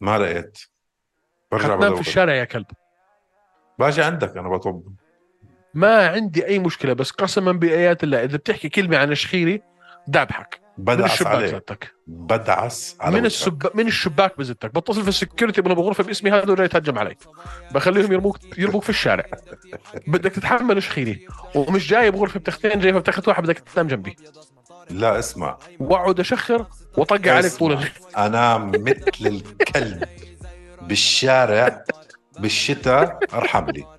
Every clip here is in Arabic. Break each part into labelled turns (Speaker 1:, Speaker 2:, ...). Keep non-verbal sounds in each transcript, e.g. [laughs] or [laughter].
Speaker 1: ما لقيت برجع
Speaker 2: حتنام في
Speaker 1: بدور
Speaker 2: الشارع يا كلب
Speaker 1: باجي عندك انا بطب
Speaker 2: ما عندي اي مشكله بس قسما بايات الله اذا بتحكي كلمه عن شخيري دعبحك من
Speaker 1: بدعس
Speaker 2: الشباك
Speaker 1: عليك
Speaker 2: زتك
Speaker 1: بدعس على
Speaker 2: من
Speaker 1: وجهك.
Speaker 2: السب من الشباك بزتك بتصل في السكيورتي وانا بغرفه باسمي هذا ولا يتهجم علي بخليهم يرموك يرموك في
Speaker 1: [laughs]
Speaker 2: الشارع بدك تتحمل شخيري ومش جايب غرفه بتختين جايبها بتاخذ واحد بدك تنام جنبي
Speaker 1: لا اسمع
Speaker 2: واقعد اشخر
Speaker 1: إيه،
Speaker 2: واطقع عليك طول الليل
Speaker 1: انا مثل الكلب بالشارع بالشتاء ارحم لي
Speaker 2: [laughs]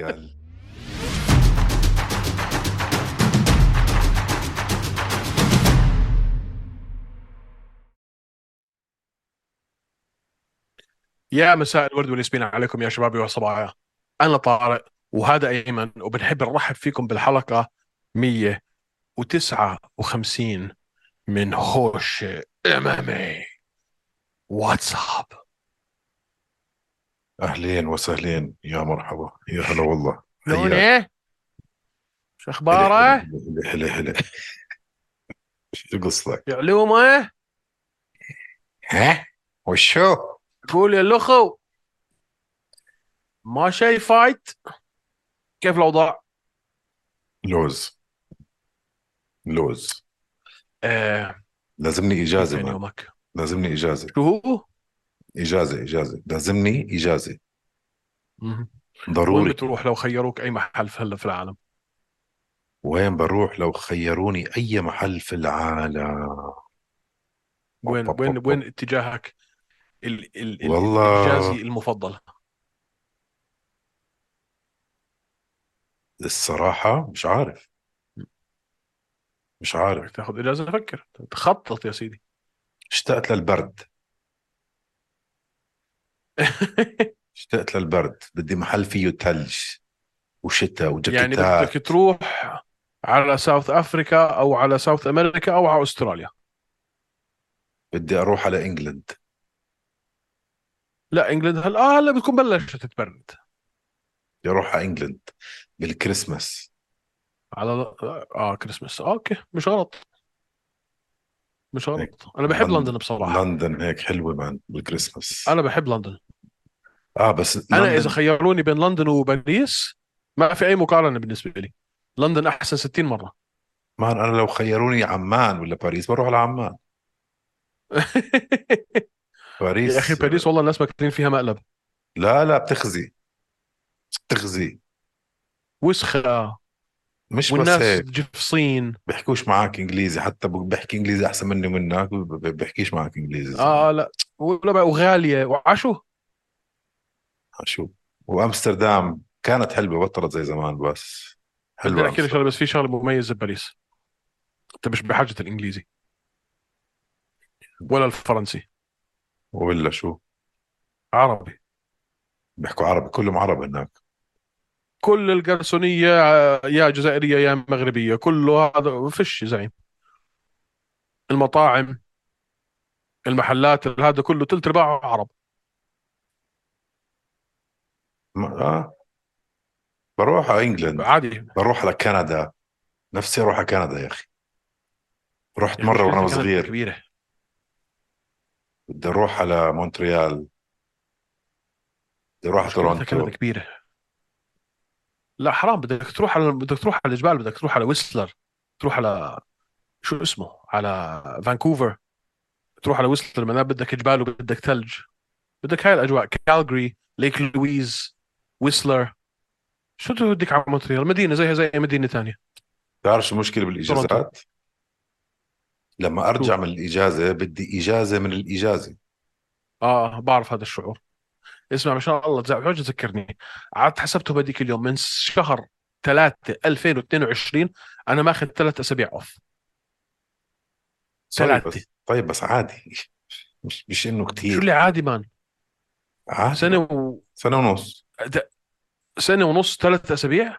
Speaker 1: قال
Speaker 2: يا مساء الورد والياسمين عليكم يا شبابي وصبايا انا طارق وهذا ايمن وبنحب نرحب فيكم بالحلقه 159 من هوش إيه. امامي واتساب
Speaker 1: اهلين وسهلين يا مرحبا يا هلا والله حياك.
Speaker 2: لوني شو
Speaker 1: هلا
Speaker 2: اخباره
Speaker 1: هلا هلا هلا شو قصتك؟
Speaker 2: يا علومه
Speaker 1: ها؟ وشو؟
Speaker 2: قول يا الاخو ما شي فايت كيف الاوضاع؟
Speaker 1: لوز لوز
Speaker 2: آه،
Speaker 1: لازمني اجازه
Speaker 2: كيف كان
Speaker 1: مان.
Speaker 2: يومك
Speaker 1: لازمني اجازه
Speaker 2: شو هو؟
Speaker 1: اجازه اجازه لازمني اجازه
Speaker 2: مهم. وين
Speaker 1: ضروري
Speaker 2: بتروح لو خيروك اي محل في- هلا في العالم؟
Speaker 1: وين بروح لو خيروني اي محل في العالم
Speaker 2: وين
Speaker 1: أوب،
Speaker 2: وين
Speaker 1: أوب،
Speaker 2: وين اتجاهك ال ال ال-
Speaker 1: والله.
Speaker 2: الحجازي المفضل
Speaker 1: الصراحه مش عارف مش عارف
Speaker 2: بدك تاخذ اجازه تفكر تخطط يا
Speaker 1: [laughs]
Speaker 2: سيدي
Speaker 1: اشتقت للبرد
Speaker 2: يعني
Speaker 1: اشتقت للبرد بدي محل فيه ثلج وشتاء
Speaker 2: يعني
Speaker 1: وجاكيتات
Speaker 2: بدك تروح على ساوث افريكا او على ساوث امريكا او على استراليا
Speaker 1: بدي اروح على انجلند
Speaker 2: لا انجلترا هلا آه هلا بتكون بلشت تتبرد
Speaker 1: بدي اروح على انجلند بالكريسماس
Speaker 2: على اه كريسمس آه اوكي مش غلط مش
Speaker 1: إيه،
Speaker 2: غلط انا بحب
Speaker 1: لندن-
Speaker 2: لندن بصراحه
Speaker 1: لندن هيك حلوه مان بالكريسماس
Speaker 2: انا بحب لندن
Speaker 1: اه بس
Speaker 2: انا
Speaker 1: لندن
Speaker 2: اذا خيروني بين لندن وباريس ما في اي مقارنه بالنسبه لي لندن احسن 60 مره
Speaker 1: مان انا لو خيروني عمان ولا باريس بروح على عمان
Speaker 2: [laughs]
Speaker 1: باريس
Speaker 2: يا اخي باريس والله الناس ماكلين فيها مقلب
Speaker 1: لا لا بتخزي بتخزي
Speaker 2: وسخه
Speaker 1: مش بس
Speaker 2: والناس
Speaker 1: هيك
Speaker 2: جفصين
Speaker 1: بيحكوش معك انجليزي حتى ب- بحكي انجليزي احسن مني ومنك ب- ب- بحكيش معك انجليزي
Speaker 2: اه لا ولا بقى وغاليه وعشو
Speaker 1: آه، شو وامستردام كانت حلوه بطلت زي زمان بس
Speaker 2: بدي
Speaker 1: حلوه
Speaker 2: احكي لك شغله بس في شغله مميزه بباريس انت مش بحاجه الانجليزي ولا الفرنسي
Speaker 1: ولا شو
Speaker 2: عربي
Speaker 1: بيحكوا عربي كلهم عرب هناك
Speaker 2: كل القرصونيه آه، يا جزائريه يا مغربيه كله هذا ما فيش يا زعيم المطاعم المحلات هذا كله ثلث ارباعه عرب
Speaker 1: ما آه. بروح على انجلند
Speaker 2: عادي
Speaker 1: بروح على كندا نفسي اروح على كندا يا اخي رحت مره وانا
Speaker 2: مشكلتها كانت
Speaker 1: صغير
Speaker 2: كبيره
Speaker 1: بدي اروح على مونتريال بدي اروح على
Speaker 2: مشكلتها كندا
Speaker 1: تورونتو
Speaker 2: كبيرة لا حرام بدك تروح على بدك تروح على الجبال بدك تروح على ويسلر تروح على شو اسمه على فانكوفر تروح على ويسلر ما بدك جبال وبدك ثلج بدك هاي الاجواء كالجري ليك لويز ويسلر شو بدك على مونتريال مدينة زيها زي أي مدينة ثانية
Speaker 1: بتعرف شو المشكله بالاجازات لما ارجع
Speaker 2: شو؟
Speaker 1: من الاجازه بدي اجازه من الاجازه
Speaker 2: اه بعرف هذا الشعور اسمع ما شاء الله تزعل حاجه تذكرني قعدت حسبته بهذيك اليوم من شهر 3 2022 انا ماخذ ثلاث اسابيع اوف
Speaker 1: طيب
Speaker 2: ثلاثة.
Speaker 1: بس إيه. طيب بس عادي [laughs] مش مش انه كثير
Speaker 2: شو اللي عادي مان
Speaker 1: عادي
Speaker 2: سنه و...
Speaker 1: سنه ونص
Speaker 2: د- سنه ونص ثلاث اسابيع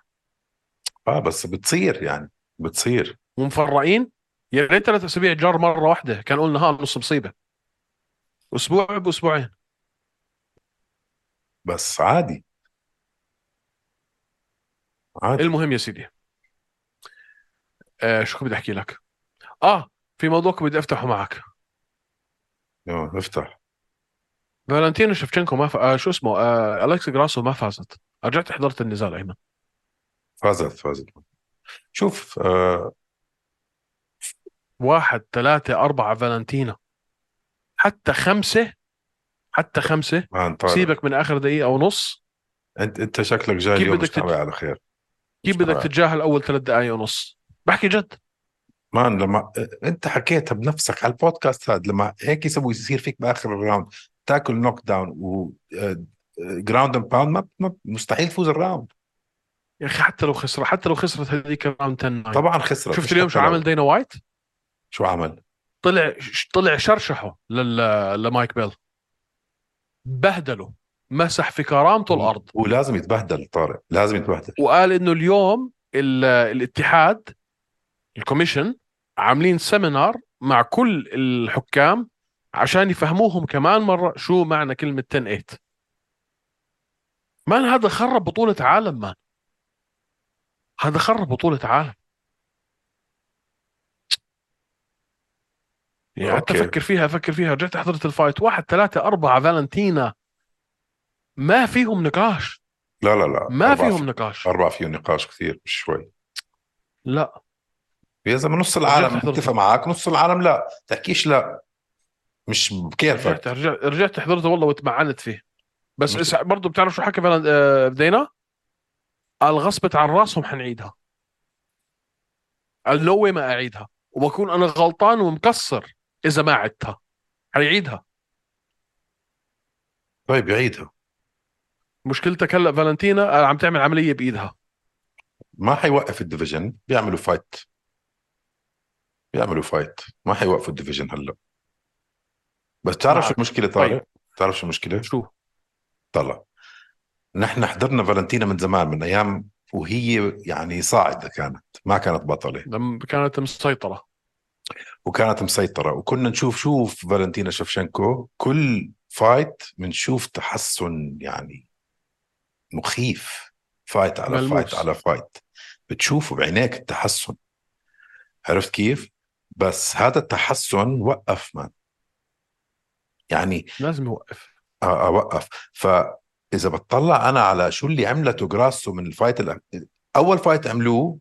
Speaker 1: اه بس بتصير يعني بتصير
Speaker 2: ومفرقين يا ريت ثلاث اسابيع جار مره واحده كان قلنا ها نص مصيبه اسبوع باسبوعين
Speaker 1: بس عادي عادي
Speaker 2: المهم يا سيدي آه شو كنت بدي احكي لك اه في موضوع كنت بدي افتحه معك
Speaker 1: اه افتح
Speaker 2: فالنتينو شفتشنكو ما ف... آه شو اسمه آه الكس جراسو ما فازت رجعت حضرت النزال ايمن
Speaker 1: فازت فازت شوف آه
Speaker 2: واحد ثلاثة أربعة فالنتينا حتى خمسة حتى خمسة
Speaker 1: ما انطالع
Speaker 2: سيبك من آخر دقيقة ونص
Speaker 1: انت انت شكلك جاي
Speaker 2: كيف
Speaker 1: اليوم
Speaker 2: بدك
Speaker 1: مش
Speaker 2: تت...
Speaker 1: ناوي على خير
Speaker 2: كيف
Speaker 1: مش ناوي
Speaker 2: بدك
Speaker 1: على
Speaker 2: تتجاهل أول ثلاث دقايق ونص بحكي جد
Speaker 1: مان لما انت حكيتها بنفسك على البودكاست هذا لما هيك يسوي يصير فيك باخر الراوند تاكل نوك داون و آه، جراوند اند باوند ما ما- مستحيل تفوز الراوند
Speaker 2: يا أخي حتى لو خسر حتى لو خسرت هذيك راوند 10 9
Speaker 1: طبعا خسرت
Speaker 2: طيب. شفت
Speaker 1: مش
Speaker 2: اليوم شو
Speaker 1: حتى
Speaker 2: عمل
Speaker 1: لو
Speaker 2: دينا وايت
Speaker 1: شو عمل
Speaker 2: طلع ش- طلع شرشحه لل... لمايك بيل بهدله مسح في كرامته
Speaker 1: هو
Speaker 2: الأرض
Speaker 1: هو لازم يتبهدل طارق لازم يتبهدل
Speaker 2: وقال انه اليوم ال- الاتحاد الكوميشن عاملين سيمينار مع كل الحكام عشان يفهموهم كمان مرة شو معنى كلمة 10 8 مان هذا خرب بطولة عالم مان هذا خرب بطولة عالم يعني حتى
Speaker 1: اوكي
Speaker 2: فكر فيها فكر فيها رجعت حضرت الفايت واحد ثلاثة أربعة فالنتينا ما فيهم نقاش
Speaker 1: لا لا لا
Speaker 2: ما
Speaker 1: اربعه في
Speaker 2: فيهم نقاش
Speaker 1: اربعه فيه نقاش كثير مش شوي
Speaker 2: لا
Speaker 1: يا زلمه نص
Speaker 2: رجعت
Speaker 1: العالم
Speaker 2: حضرت
Speaker 1: متفق معك نص العالم لا تحكيش لا مش
Speaker 2: رجعت
Speaker 1: بكيفك
Speaker 2: رجعت رجعت حضرته والله وتمعنت فيه بس
Speaker 1: مش
Speaker 2: اسع- برضه بتعرف شو حكى فالن- آه، دينا قال غصبت عن راسهم حنعيدها قال نو ما اعيدها وبكون انا غلطان ومكسر اذا ما عدتها حيعيدها
Speaker 1: طيب يعيدها
Speaker 2: مشكلتك هلا فالنتينا آه، عم تعمل عمليه بايدها
Speaker 1: ما حيوقف الديفيجن بيعملوا فايت بيعملوا فايت ما حيوقفوا الديفيجن هلا بس تعرف شو
Speaker 2: معك
Speaker 1: المشكله
Speaker 2: طيب
Speaker 1: طارق تعرف شو المشكله
Speaker 2: شو
Speaker 1: طلع نحن حضرنا فالنتينا من زمان من ايام وهي يعني صاعده كانت ما كانت بطله
Speaker 2: لما كانت مسيطره
Speaker 1: وكانت مسيطره وكنا نشوف شوف فالنتينا شفشنكو كل فايت بنشوف تحسن يعني مخيف فايت على فايت
Speaker 2: ملموس
Speaker 1: على فايت بتشوفه بعينيك التحسن عرفت كيف بس هذا التحسن وقف مان يعني
Speaker 2: لازم يوقف
Speaker 1: آه، آه، وقف فاذا بتطلع انا على شو اللي عملته جراسو من الفايت الأ... اول فايت عملوه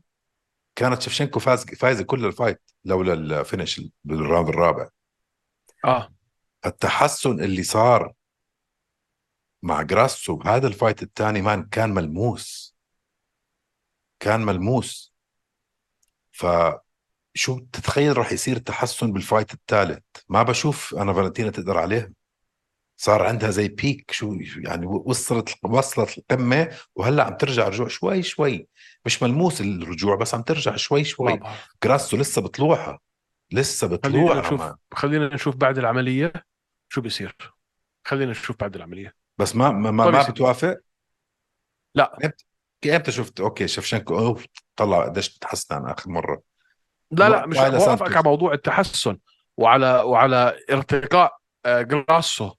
Speaker 1: كانت شفشنكو فاز فايزه كل الفايت لولا الفينش بالراوند الرابع
Speaker 2: اه
Speaker 1: التحسن اللي صار مع جراسو بهذا الفايت الثاني مان كان ملموس كان ملموس فشو بتتخيل راح يصير تحسن بالفايت الثالث ما بشوف انا فالنتينا تقدر عليها صار عندها زي بيك شو شو- يعني وصلت وصلت القمه وهلا عم ترجع رجوع شوي شوي مش ملموس الرجوع بس عم ترجع شوي
Speaker 2: ما
Speaker 1: شوي
Speaker 2: بعرف
Speaker 1: جراسو لسه بطلوعها لسه
Speaker 2: خلينا
Speaker 1: بطلوعها
Speaker 2: نشوف
Speaker 1: ما
Speaker 2: خلينا نشوف بعد العمليه شو بيصير خلينا نشوف بعد العمليه
Speaker 1: بس ما ما ما
Speaker 2: طيب يا
Speaker 1: ما
Speaker 2: سيدي
Speaker 1: بتوافق
Speaker 2: لا
Speaker 1: امتى امتى شفت اوكي شفشنكو أوف، طلع قديش تحسن عن اخر مره
Speaker 2: لا لا مش
Speaker 1: وايلا
Speaker 2: بوقفك على
Speaker 1: سانتوس
Speaker 2: موضوع التحسن وعلى وعلى ارتقاء آه، جراسو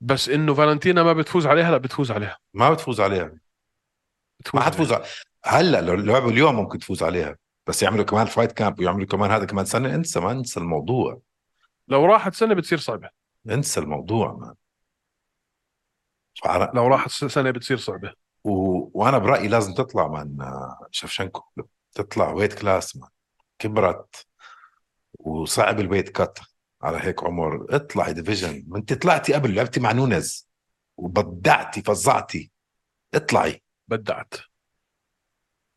Speaker 2: بس انه فالنتينا ما بتفوز عليها لا بتفوز عليها
Speaker 1: ما بتفوز عليها ما
Speaker 2: بتفوز
Speaker 1: حتفوز
Speaker 2: عليها
Speaker 1: ع- هلا لو لعبوا اليوم ممكن تفوز عليها بس يعملوا كمان فايت كامب ويعملوا كمان هذا كمان سنه انسى ما انسى الموضوع
Speaker 2: لو راحت سنة بتصير صعبة
Speaker 1: انسى الموضوع ما
Speaker 2: لو راحت س- سنة بتصير صعبة
Speaker 1: و... وانا برايي لازم تطلع من شفشنكو تطلع ويت كلاس من كبرت وصعب الويت كات على هيك عمر اطلعي ديفيجن ما انت طلعتي قبل لعبتي مع نونز وبدعتي فزعتي اطلعي
Speaker 2: بدعت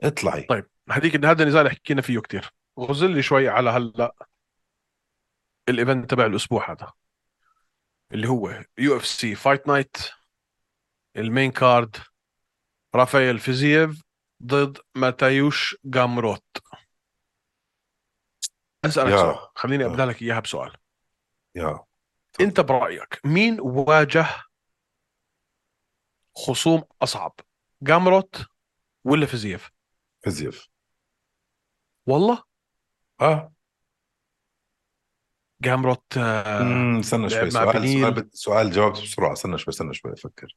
Speaker 1: اطلعي
Speaker 2: طيب هذيك هذا النزال حكينا فيه كتير غزل لي شوي على هلا الايفنت تبع الاسبوع هذا اللي هو يو اف سي فايت نايت المين كارد رافائيل فيزييف ضد ماتايوش جامروت اسالك
Speaker 1: يا
Speaker 2: سؤال خليني ابدا
Speaker 1: يا
Speaker 2: لك اياها بسؤال
Speaker 1: يا تفضل
Speaker 2: انت برايك مين واجه خصوم اصعب جامروت ولا فيزييف
Speaker 1: فيزيف
Speaker 2: والله
Speaker 1: اه
Speaker 2: جامروت آه،
Speaker 1: امم استنى شوي
Speaker 2: لعب مع
Speaker 1: سؤال سؤال
Speaker 2: بنيل
Speaker 1: بد- سؤال جاوبت بسرعه استنى شوي استنى شوي افكر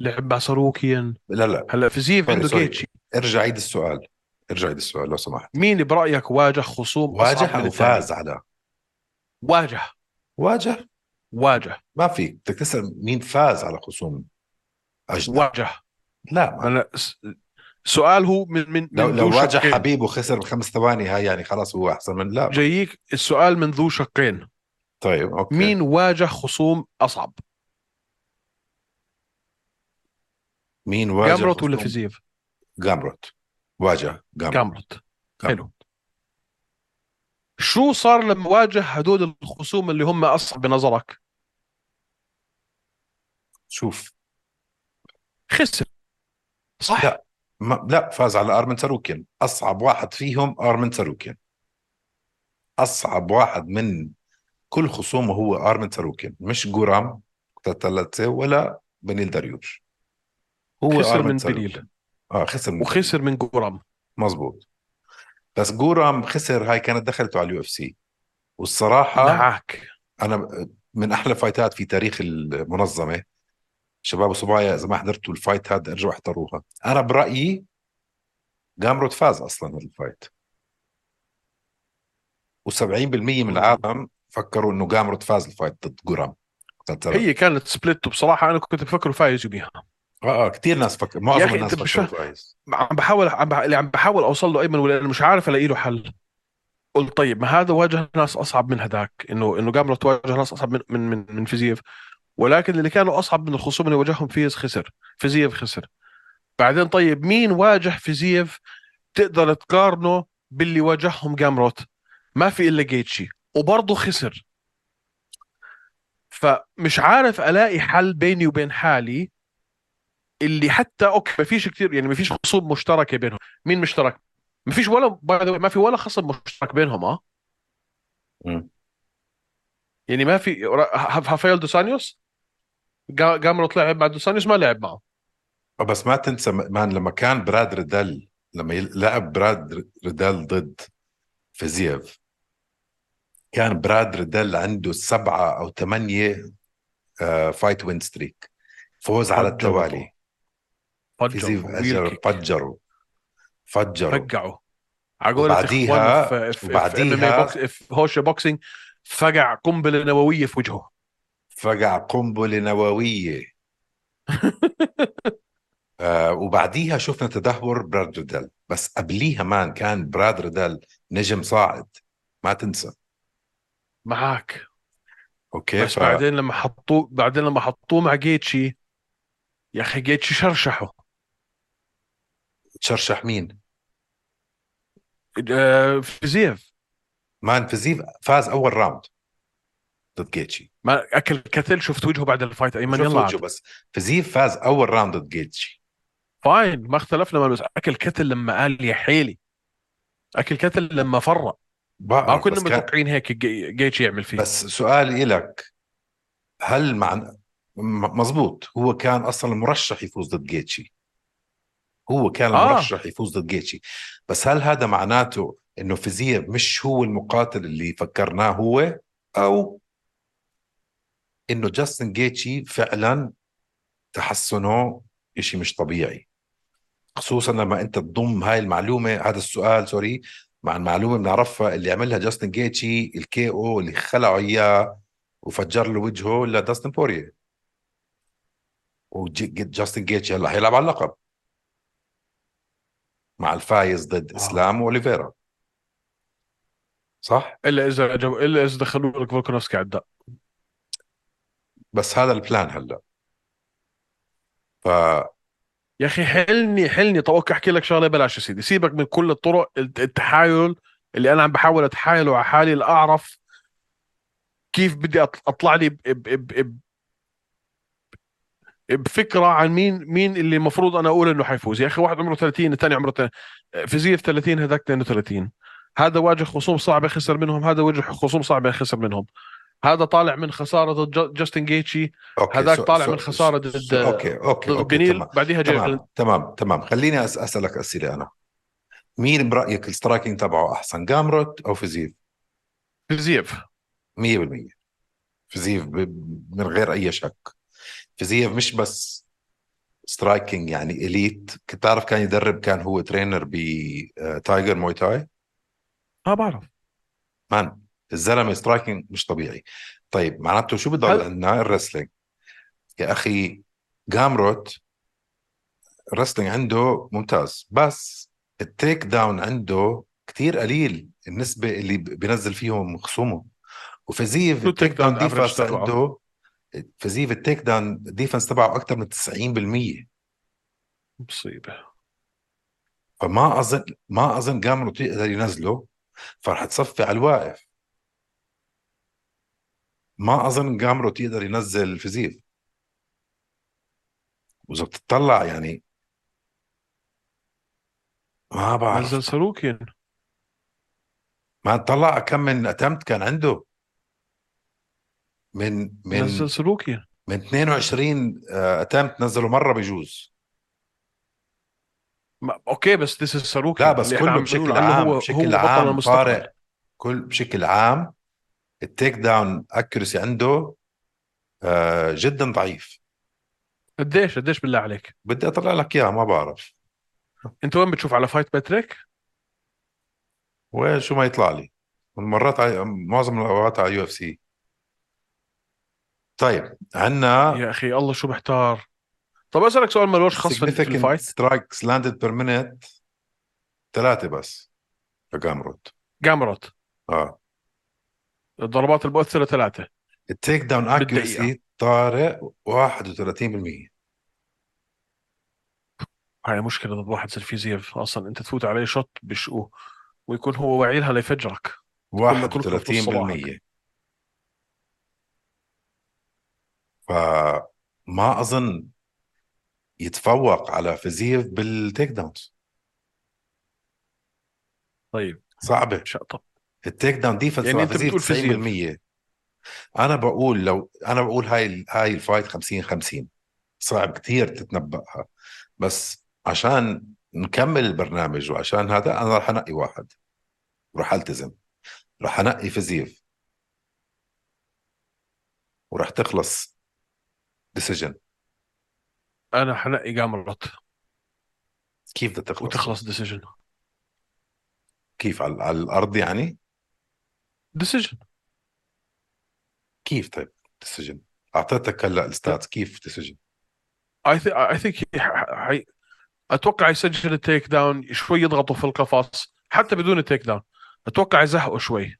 Speaker 2: لعب مع ساروكيان
Speaker 1: لا لا
Speaker 2: هلا فيزييف
Speaker 1: سوري
Speaker 2: عنده
Speaker 1: سوري
Speaker 2: جيتشي
Speaker 1: ارجع عيد السؤال ارجع عيد السؤال لو سمحت
Speaker 2: مين برايك واجه خصوم
Speaker 1: واجه
Speaker 2: اصعب من
Speaker 1: او
Speaker 2: الثاني
Speaker 1: فاز على
Speaker 2: واجه
Speaker 1: واجه
Speaker 2: واجه
Speaker 1: ما فيك بدك تسال مين فاز على خصوم اجنبي
Speaker 2: واجه
Speaker 1: لا ما
Speaker 2: انا س- السؤال هو من من
Speaker 1: لو
Speaker 2: من
Speaker 1: لو
Speaker 2: ذو
Speaker 1: واجه
Speaker 2: شقين.
Speaker 1: حبيب وخسر بخمس ثواني هاي يعني خلاص هو احسن من لا
Speaker 2: جاييك السؤال من ذو شقين
Speaker 1: طيب اوكي
Speaker 2: مين واجه خصوم اصعب
Speaker 1: مين واجه
Speaker 2: جامروت ولا
Speaker 1: خصوم؟
Speaker 2: فيزيف
Speaker 1: جامروت واجه جامروت
Speaker 2: جامروت حلو شو صار لما واجه هدول الخصوم اللي هم اصعب بنظرك
Speaker 1: شوف
Speaker 2: خسر صح
Speaker 1: لا. ما لا فاز على ارمن ساروكيان اصعب واحد فيهم ارمن ساروكيان اصعب واحد من كل خصومه هو ارمن ساروكيان مش جورام تاتلاتسي ولا بنيل داريوش هو
Speaker 2: خسر
Speaker 1: أرمن
Speaker 2: من
Speaker 1: ساروكيان.
Speaker 2: بليل
Speaker 1: اه خسر من
Speaker 2: وخسر من جورام
Speaker 1: مزبوط بس جورام خسر هاي كانت دخلته على اليو اف سي والصراحه
Speaker 2: معك
Speaker 1: انا من احلى فايتات في تاريخ المنظمه شباب وصبايا اذا ما حضرتوا الفايت هذا ارجعوا احضروها انا برايي جامروت فاز اصلا هذا الفايت و70% من العالم فكروا انه جامروت فاز الفايت ضد جرام
Speaker 2: هي كانت سبليت وبصراحه انا كنت بفكره فايز بيها
Speaker 1: اه اه كثير ناس فكر معظم
Speaker 2: أخي،
Speaker 1: الناس
Speaker 2: أنت مش
Speaker 1: فكروا فايز
Speaker 2: عم بحاول عم بح... اللي عم بحاول اوصل له ايمن ولا أنا مش عارف الاقي له حل قلت طيب ما هذا واجه ناس اصعب من هذاك انه انه جامرت واجه ناس اصعب من من من, من فيزييف ولكن اللي كانوا اصعب من الخصوم اللي واجههم فيز خسر فيزييف خسر بعدين طيب مين واجه فيزييف تقدر تقارنه باللي واجههم جامروت ما في الا جيتشي وبرضه خسر فمش عارف الاقي حل بيني وبين حالي اللي حتى اوكي ما فيش كثير يعني ما فيش خصوم مشتركه بينهم مين مشترك ما فيش ولا باي ما في ولا خصم مشترك بينهم اه
Speaker 1: مم.
Speaker 2: يعني ما في هافايل دوسانيوس جا- جامروت لعب مع دوسانيوس ما لعب معه
Speaker 1: آه، بس ما تنسى م- مان لما كان براد ريدل لما يل- لعب براد ر- ريدل ضد فيزييف كان براد ريدل عنده سبعة أو ثمانية آه، فايت وين ستريك فوز على
Speaker 2: فجروا.
Speaker 1: التوالي فيزييف
Speaker 2: فجروا ويل
Speaker 1: أجر-
Speaker 2: كيك.
Speaker 1: فجروا فجروا
Speaker 2: فقعوا على قولة
Speaker 1: وبعديها-
Speaker 2: اخواننا في- في- في
Speaker 1: وبعديها-
Speaker 2: MMA إيه بوكس- في هوشة بوكسينج فقع قنبله نوويه في وجهه
Speaker 1: فقع قنبلة
Speaker 2: [laughs]
Speaker 1: نووية آه وبعديها شفنا تدهور براد ريدل بس قبليها مان كان براد ريدل نجم صاعد ما تنسى
Speaker 2: معك
Speaker 1: اوكي
Speaker 2: بس
Speaker 1: ف...
Speaker 2: بعدين لما حطوه بعدين لما حطوه مع جيتشي يا اخي جيتشي شرشحه
Speaker 1: تشرشح مين
Speaker 2: آه، فيزييف
Speaker 1: مان فيزيف فاز اول راوند ضد جيتشي
Speaker 2: ما اكل كتل شفت وجهه بعد الفايت ايمن
Speaker 1: شوف
Speaker 2: يلا
Speaker 1: وجهه
Speaker 2: عاد.
Speaker 1: بس فيزيف فاز اول راوند ضد جيتشي
Speaker 2: فاين ما اختلفنا ما بس اكل كتل لما قال يا حيلي اكل كتل لما فرق ما
Speaker 1: بقى
Speaker 2: كنا
Speaker 1: آه، بس, كان...
Speaker 2: متوقعين هيك جي- جيتشي يعمل فيه
Speaker 1: بس سؤالي لك هل مع م- مزبوط هو كان اصلا المرشح يفوز ضد جيتشي هو كان
Speaker 2: آه.
Speaker 1: المرشح يفوز ضد جيتشي بس هل هذا معناته انه فيزييف مش هو المقاتل اللي فكرناه هو او انه جاستن جيتشي فعلا تحسنه شيء مش طبيعي خصوصا لما انت تضم هاي المعلومه هذا السؤال سوري مع المعلومه بنعرفها اللي عملها جاستن جيتشي الكي او اللي خلعوا اياه وفجر له وجهه لداستن بوريه وجاستن جيتشي هلا حيلعب على اللقب مع الفايز ضد
Speaker 2: آه.
Speaker 1: اسلام واوليفيرا صح
Speaker 2: الا اذا جو... الا اذا دخلوا لك فولكانوفسكي عداء
Speaker 1: بس هذا البلان هلا ف
Speaker 2: يا اخي حلني حلني طب اوكي احكي لك شغله بلاش يا سيدي سيبك من كل الطرق الت- التحايل اللي انا عم بحاول اتحايله على حالي لاعرف كيف بدي أط- اطلع لي ب... ب... ب... ب... بفكره عن مين مين اللي المفروض انا اقول انه حيفوز يا اخي واحد عمره 30 الثاني عمره تل- فيزييف 30 هذاك 32 هذا واجه خصوم صعبه خسر منهم هذا وجه خصوم صعبه خسر منهم هذا طالع من خساره ضد جو- جاستن جيتشي
Speaker 1: اوكي
Speaker 2: هذاك
Speaker 1: سو-
Speaker 2: طالع
Speaker 1: سو-
Speaker 2: من خسارة
Speaker 1: سو-
Speaker 2: ضد-
Speaker 1: اوكي اوكي
Speaker 2: ضد
Speaker 1: اوكي
Speaker 2: بنيل
Speaker 1: تمام
Speaker 2: بعدين جيرلين
Speaker 1: تمام تمام تمام خليني أس- اسالك اسئله انا مين برايك السترايكنج تبعه احسن جامروت او فيزيف
Speaker 2: فيزييف
Speaker 1: 100% فيزيف ب- من غير اي شك فيزيف مش بس سترايكنج يعني اليت كنت تعرف كان يدرب كان هو آه، ترينر بتايجر موي تاي
Speaker 2: ما بعرف
Speaker 1: مان الزلمه سترايكنج مش طبيعي طيب معناته شو بضل
Speaker 2: هل-
Speaker 1: عندنا الرسلينج يا اخي جامروت الرسلينج عنده ممتاز بس التيك داون عنده كتير قليل النسبة اللي ب- بنزل فيهم خصومه وفزيف
Speaker 2: شو التيك داون
Speaker 1: ديفنس
Speaker 2: افريج تبعه؟
Speaker 1: عنده فزيف التيك داون ديفنس تبعه اكثر من 90%
Speaker 2: مصيبة
Speaker 1: فما اظن ما اظن جامروت يقدر ينزله فرح تصفي على الواقف ما اظن جامروت يقدر ينزل فزيف واذا بتطلع يعني ما بعرف
Speaker 2: نزل سلوكين
Speaker 1: ما طلع كم من اتمت كان عنده من من
Speaker 2: نزل سلوكين
Speaker 1: من 22 اتمت نزله مره بجوز
Speaker 2: ما- اوكي بس ذيس از سلوك
Speaker 1: لا بس كله بشكل عام بشكل عام طارق كل بشكل عام التيك داون اكيورسي عنده آه جدا ضعيف
Speaker 2: قديش قديش بالله عليك
Speaker 1: بدي اطلع لك اياها ما بعرف
Speaker 2: انت وين بتشوف على فايت باتريك
Speaker 1: وين شو ما يطلع لي مرات على معظم الاوقات على يو اف سي طيب عندنا
Speaker 2: يا اخي الله شو محتار طب اسالك سؤال ملوش خاص في في
Speaker 1: significant
Speaker 2: الفايت
Speaker 1: strikes landed per minute ثلاثة بس لجامروت
Speaker 2: جامرت
Speaker 1: اه
Speaker 2: الضربات المؤثره ثلاثه
Speaker 1: التيك داون
Speaker 2: بالدقيقة.
Speaker 1: اكيورسي طارق 31%
Speaker 2: هاي مشكله ضد واحد زي الفيزيف اصلا انت تفوت عليه شوت بشقه ويكون هو واعي لها ليفجرك
Speaker 1: 31% فما اظن يتفوق على فيزيف بالتيك داونز
Speaker 2: طيب
Speaker 1: صعبه
Speaker 2: شقطه
Speaker 1: التيك داون ديفنس
Speaker 2: يعني
Speaker 1: يعني
Speaker 2: أنت بتقول
Speaker 1: فيزيف 90%
Speaker 2: فيزيف.
Speaker 1: انا بقول لو انا بقول هاي ال- هاي الفايت 50 50 صعب كثير تتنبأها بس عشان نكمل البرنامج وعشان هذا انا رح انقي واحد ورح التزم رح انقي فيزيف ورح تخلص ديسيجن
Speaker 2: انا حنقي جامرت
Speaker 1: كيف بدها تخلص
Speaker 2: وتخلص ديسيجن
Speaker 1: كيف على, على الارض يعني
Speaker 2: ديسيجن
Speaker 1: كيف طيب ديسيجن اعطيتك هلا
Speaker 2: طيب.
Speaker 1: الستات كيف ديسيجن
Speaker 2: اي ثينك اي ثينك اتوقع يسجل التيك داون شوي يضغطوا في القفص حتى بدون التيك داون اتوقع يزهقوا شوي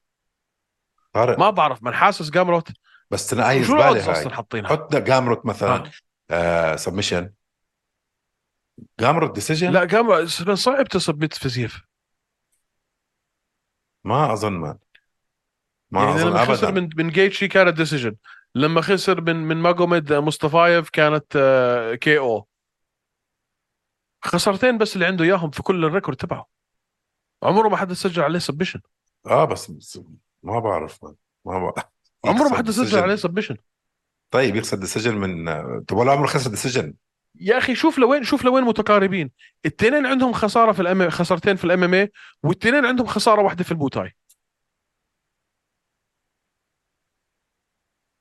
Speaker 1: طارق
Speaker 2: ما بعرف من حاسس جامروت
Speaker 1: بس انا قايل
Speaker 2: شو
Speaker 1: إيه، بالي
Speaker 2: الأودز
Speaker 1: هاي
Speaker 2: اصلا حاطينها
Speaker 1: حط جامروت مثلا
Speaker 2: آه.
Speaker 1: آه سبمشن جامروت ديسيجن
Speaker 2: لا جامروت صعب تصب فيزيف
Speaker 1: ما اظن مان ما
Speaker 2: يعني
Speaker 1: اظن
Speaker 2: لما خسر
Speaker 1: ابدا
Speaker 2: من من جيتشي كانت ديسيجن لما خسر من من ماجوميد مصطفايف كانت آه، كي او خسارتين بس اللي عنده اياهم في كل الريكورد تبعه عمره ما حدا سجل عليه سبشن
Speaker 1: اه بس بس ما بعرف مان ما بعرف
Speaker 2: [laughs] عمره
Speaker 1: يخسر
Speaker 2: ما حدا سجل
Speaker 1: decision.
Speaker 2: عليه سبشن
Speaker 1: طيب يخسر ديسيجن من آه، طب ولا عمره خسر ديسيجن
Speaker 2: يا اخي شوف لوين شوف لوين متقاربين التنين عندهم خساره في الام خسارتين في الام ام اي والتنين عندهم خساره واحده في البوتاي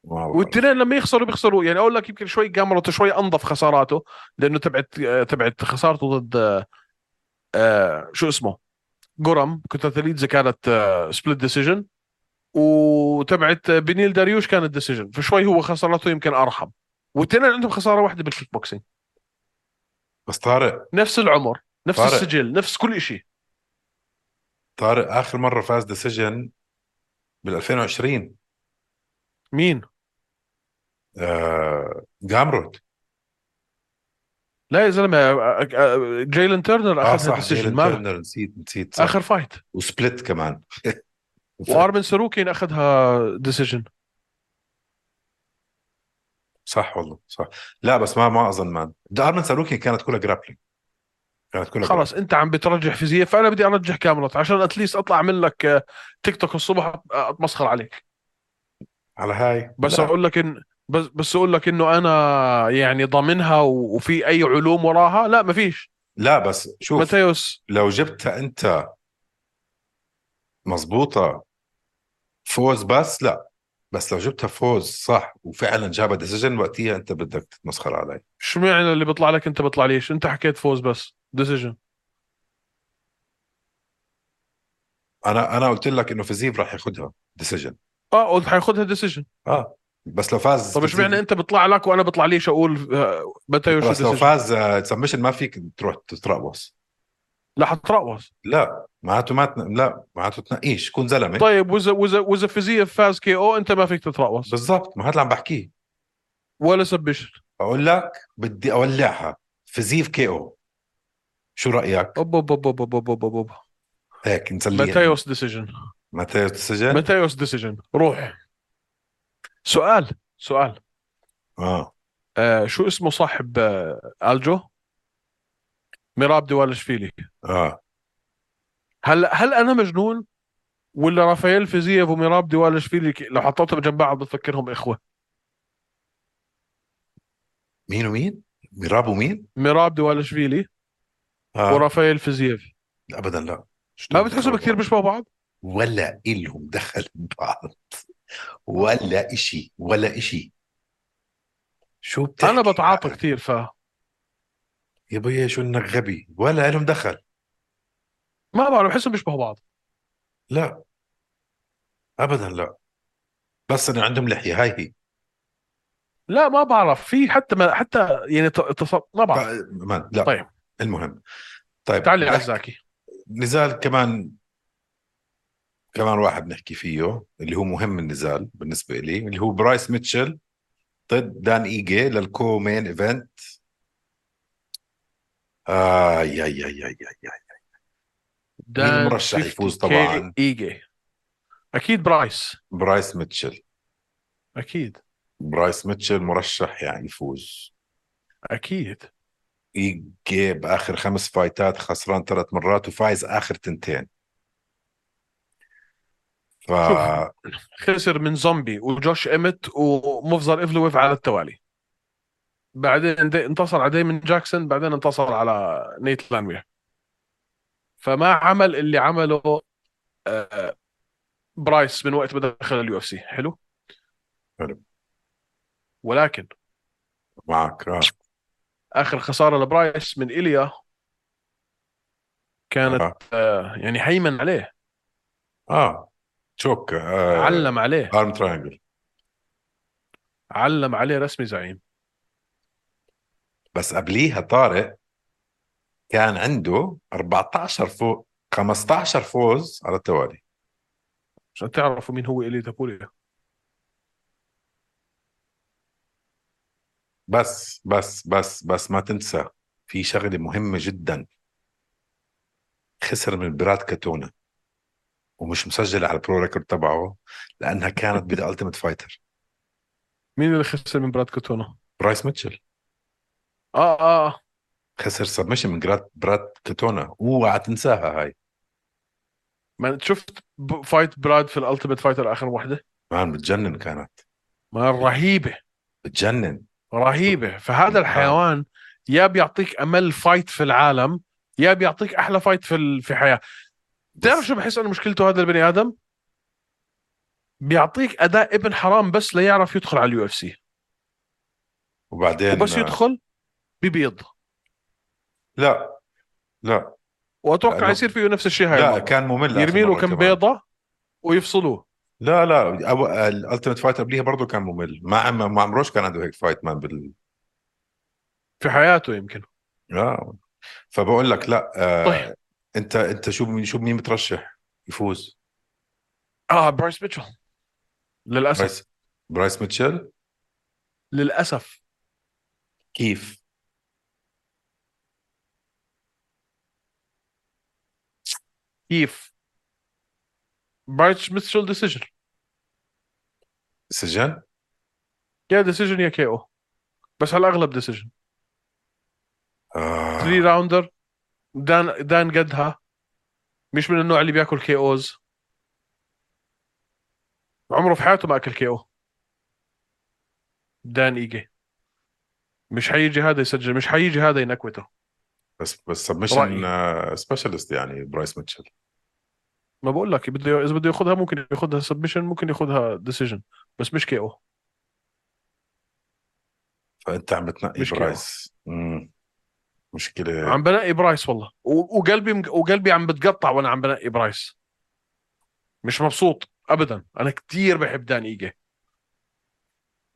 Speaker 1: ما بعرف.
Speaker 2: والتنين لما يخسروا بيخسروا يعني اقول لك يمكن شوي جامرته شوي انظف خساراته لانه تبعت آه، تبعت خسارته ضد آه، آه، شو اسمه جرم كوتاتليدزي كانت سبليت ديسيجن وتبعت آه، بنيل داريوش كانت ديسيجن فشوي هو خسارته يمكن ارحم والتنين عندهم خساره واحده بالكيك بوكسينج
Speaker 1: بس طارق
Speaker 2: نفس العمر نفس
Speaker 1: طارق.
Speaker 2: السجل نفس كل شيء
Speaker 1: طارق اخر مره فاز ديسيجن بال 2020
Speaker 2: مين
Speaker 1: آه جامروت
Speaker 2: لا يا زلمه آه، آه، جايلن تيرنر
Speaker 1: اه
Speaker 2: اخذها
Speaker 1: صح
Speaker 2: ديسيجن
Speaker 1: جيلن
Speaker 2: ما
Speaker 1: تيرنر نسيت نسيت صح
Speaker 2: اخر فايت
Speaker 1: وسبلت كمان [laughs]
Speaker 2: وارمن ساروكين اخذها ديسيجن
Speaker 1: صح والله صح لا بس ما ما اظن مان ارمن ساروكي كانت كلها جرابلينج كانت كلها
Speaker 2: خلاص انت عم بترجح فيزياء فانا بدي ارجح كاملوت عشان اتليست اطلع اعمل لك آه، تيك توك الصبح أت- اتمسخر عليك
Speaker 1: grappling. على هاي
Speaker 2: بس
Speaker 1: لا.
Speaker 2: اقول لك ان بس بس اقول لك انه انا يعني ضامنها و- وفي اي علوم وراها لا ما فيش
Speaker 1: لا بس شوف
Speaker 2: ماتيوس
Speaker 1: لو جبتها انت مزبوطة فوز بس لا بس لو جبتها فوز صح وفعلا جابها ديسيجن وقتها انت بدك تتمسخر علي
Speaker 2: شو معنى اللي بيطلع لك انت بيطلع ليش انت حكيت فوز بس ديسيجن
Speaker 1: انا انا قلت لك انه فيزيف راح ياخذها ديسيجن
Speaker 2: اه حياخذها ديسيجن
Speaker 1: اه بس لو فاز
Speaker 2: طب ايش معنى انت بيطلع لك وانا بطلع ليش اقول آه، متى يو
Speaker 1: بس لو
Speaker 2: ديسيجن
Speaker 1: فاز سبمشن ما فيك تروح تترقص
Speaker 2: لا حترقص
Speaker 1: لا معناته ما تن... لا معناته تنقيش كون زلمه
Speaker 2: طيب واذا واذا واذا فيزيف فاز كي او انت ما فيك تترقص
Speaker 1: بالضبط ما هذا اللي عم بحكيه
Speaker 2: ولا سبشن
Speaker 1: بقول لك بدي اولعها فيزيف كي او شو رايك؟
Speaker 2: اوب اوب اوب اوب اوب اوب اوب
Speaker 1: هيك نسليها
Speaker 2: ماتيوس ديسيجن
Speaker 1: متى تسجل؟
Speaker 2: ماتيوس ديسيجن روح سؤال سؤال
Speaker 1: اه
Speaker 2: آه شو اسمه صاحب آه الجو ميراب دوالشفيلي
Speaker 1: اه
Speaker 2: هل هل انا مجنون ولا رافائيل فيزييف وميراب دوالشفيلي ك- لو حطيتهم جنب بعض بتفكرهم اخوه
Speaker 1: مين ومين؟ ميراب ومين؟
Speaker 2: ميراب دوالشفيلي
Speaker 1: آه.
Speaker 2: ورافائيل فيزييف
Speaker 1: لا ابدا لا شو
Speaker 2: ما
Speaker 1: دول
Speaker 2: بتحسهم
Speaker 1: بيتخربوا؟
Speaker 2: كثير بيشبهوا بعض
Speaker 1: ولا إلهم دخل ببعض ولا إشي ولا إشي شو بتحكي
Speaker 2: انا بتعاطى كثير فما
Speaker 1: يا بيي شو انك غبي ولا إلهم دخل
Speaker 2: بعرف بحسهم بيشبهوا بعض
Speaker 1: لا ابدا لا بس انه عندهم لحيه هاي هي
Speaker 2: لا ما بعرف في حتى ما حتى يعني ت- تص... ما بعرف
Speaker 1: طيب، مان لا
Speaker 2: طيب.
Speaker 1: المهم طيب
Speaker 2: تعال لي
Speaker 1: بدك-
Speaker 2: عزاكي
Speaker 1: نزال كمان كمان واحد نحكي فيه اللي هو مهم النزال بالنسبه لي اللي هو برايس ميتشل ضد دان ايجي للكو مين ايفنت اي اي اي اي اي اي مين
Speaker 2: دان
Speaker 1: المرشح
Speaker 2: 50
Speaker 1: يفوز
Speaker 2: كي
Speaker 1: طبعاً؟
Speaker 2: ايجي اكيد برايس
Speaker 1: برايس ميتشل
Speaker 2: اكيد
Speaker 1: برايس ميتشل مرشح يعني يفوز
Speaker 2: اكيد
Speaker 1: ايجي باخر خمس فايتات خسران ثلاث مرات وفايز اخر تنتين ف
Speaker 2: خسر من زومبي وجوش ايمت ومفزر ايفلويف على التوالي بعدين دي- انتصر على ديمن جاكسون بعدين انتصر على نيت لانوير فما عمل اللي عمله آه، برايس من وقت ما دخل اليو اف سي حلو
Speaker 1: حلو.
Speaker 2: ولكن
Speaker 1: معك آه.
Speaker 2: اخر خساره لبرايس من ايليا كانت
Speaker 1: آه.
Speaker 2: آه، يعني هيمن عليه
Speaker 1: اه تشوك آه.
Speaker 2: علم عليه
Speaker 1: ارم تراينجل
Speaker 2: علم عليه رسمي زعيم
Speaker 1: بس قبليها طارق كان عنده 14 فوق 15 فوز على التوالي
Speaker 2: عشان تعرفوا مين هو ايليا تابوليا
Speaker 1: بس بس بس بس ما تنسى في شغله مهمه جدا خسر من براد كاتونا ومش مسجل على البرو ريكورد تبعه لانها
Speaker 2: [laughs]
Speaker 1: كانت بذا التيمت فايتر
Speaker 2: مين اللي خسر من براد كوتونا؟
Speaker 1: برايس ميتشل
Speaker 2: اه اه آه.
Speaker 1: خسر سبمشن من براد براد كاتونا اوعى تنساها هاي
Speaker 2: ما أنت شفت ب- فايت براد في الالتيميت فايتر اخر وحده
Speaker 1: مان بتجنن كانت
Speaker 2: ما رهيبه
Speaker 1: بتجنن
Speaker 2: رهيبه
Speaker 1: آه.
Speaker 2: فهذا الحيوان يا بيعطيك امل فايت في العالم يا بيعطيك احلى فايت في ال- في حياه بتعرف شو بحس انه مشكلته هذا البني ادم بيعطيك اداء ابن حرام بس ليعرف يدخل على اليو اف سي
Speaker 1: وبعدين آه،
Speaker 2: وبس يدخل ببيض
Speaker 1: لا لا
Speaker 2: واتوقع
Speaker 1: لأنه-
Speaker 2: يصير فيه نفس الشيء هاي
Speaker 1: لا
Speaker 2: المرة.
Speaker 1: كان ممل آخر
Speaker 2: يرمي
Speaker 1: مرة
Speaker 2: له كم
Speaker 1: كمان.
Speaker 2: بيضه ويفصلوه
Speaker 1: لا لا أو... الالتيميت فايت قبليها برضه كان ممل ما عم... ما عمروش كان عنده هيك فايت مان بال
Speaker 2: في حياته يمكن
Speaker 1: آه. فبقول لك لا آه...
Speaker 2: طيب.
Speaker 1: انت انت شو مين شو مين مترشح يفوز
Speaker 2: اه برايس ميتشل للاسف
Speaker 1: برايس برايس ميتشل
Speaker 2: للاسف
Speaker 1: كيف
Speaker 2: كيف برايس ميتشل ديسيجن
Speaker 1: سجن
Speaker 2: يا ديسيجن يا كي او بس على الاغلب ديسيجن 3
Speaker 1: آه...
Speaker 2: راوندر دان دان قدها مش من النوع اللي بياكل كي اوز عمره في حياته ما اكل كي او دان ايجي مش حيجي هذا يسجل مش حيجي هذا ينكوته
Speaker 1: بس بس
Speaker 2: رأيي.
Speaker 1: سبمشن آه... سبيشالست يعني برايس ميتشل
Speaker 2: ما بقول لك بده اذا بده ياخذها ممكن ياخذها سبمشن ممكن ياخذها ديسيجن بس مش كي او
Speaker 1: فانت عم بتنقي
Speaker 2: مشكلة.
Speaker 1: برايس مم. مشكله
Speaker 2: عم بنقي برايس والله و- وقلبي وقلبي عم بتقطع وانا عم بنقي برايس مش مبسوط ابدا انا كثير بحب دان ايجي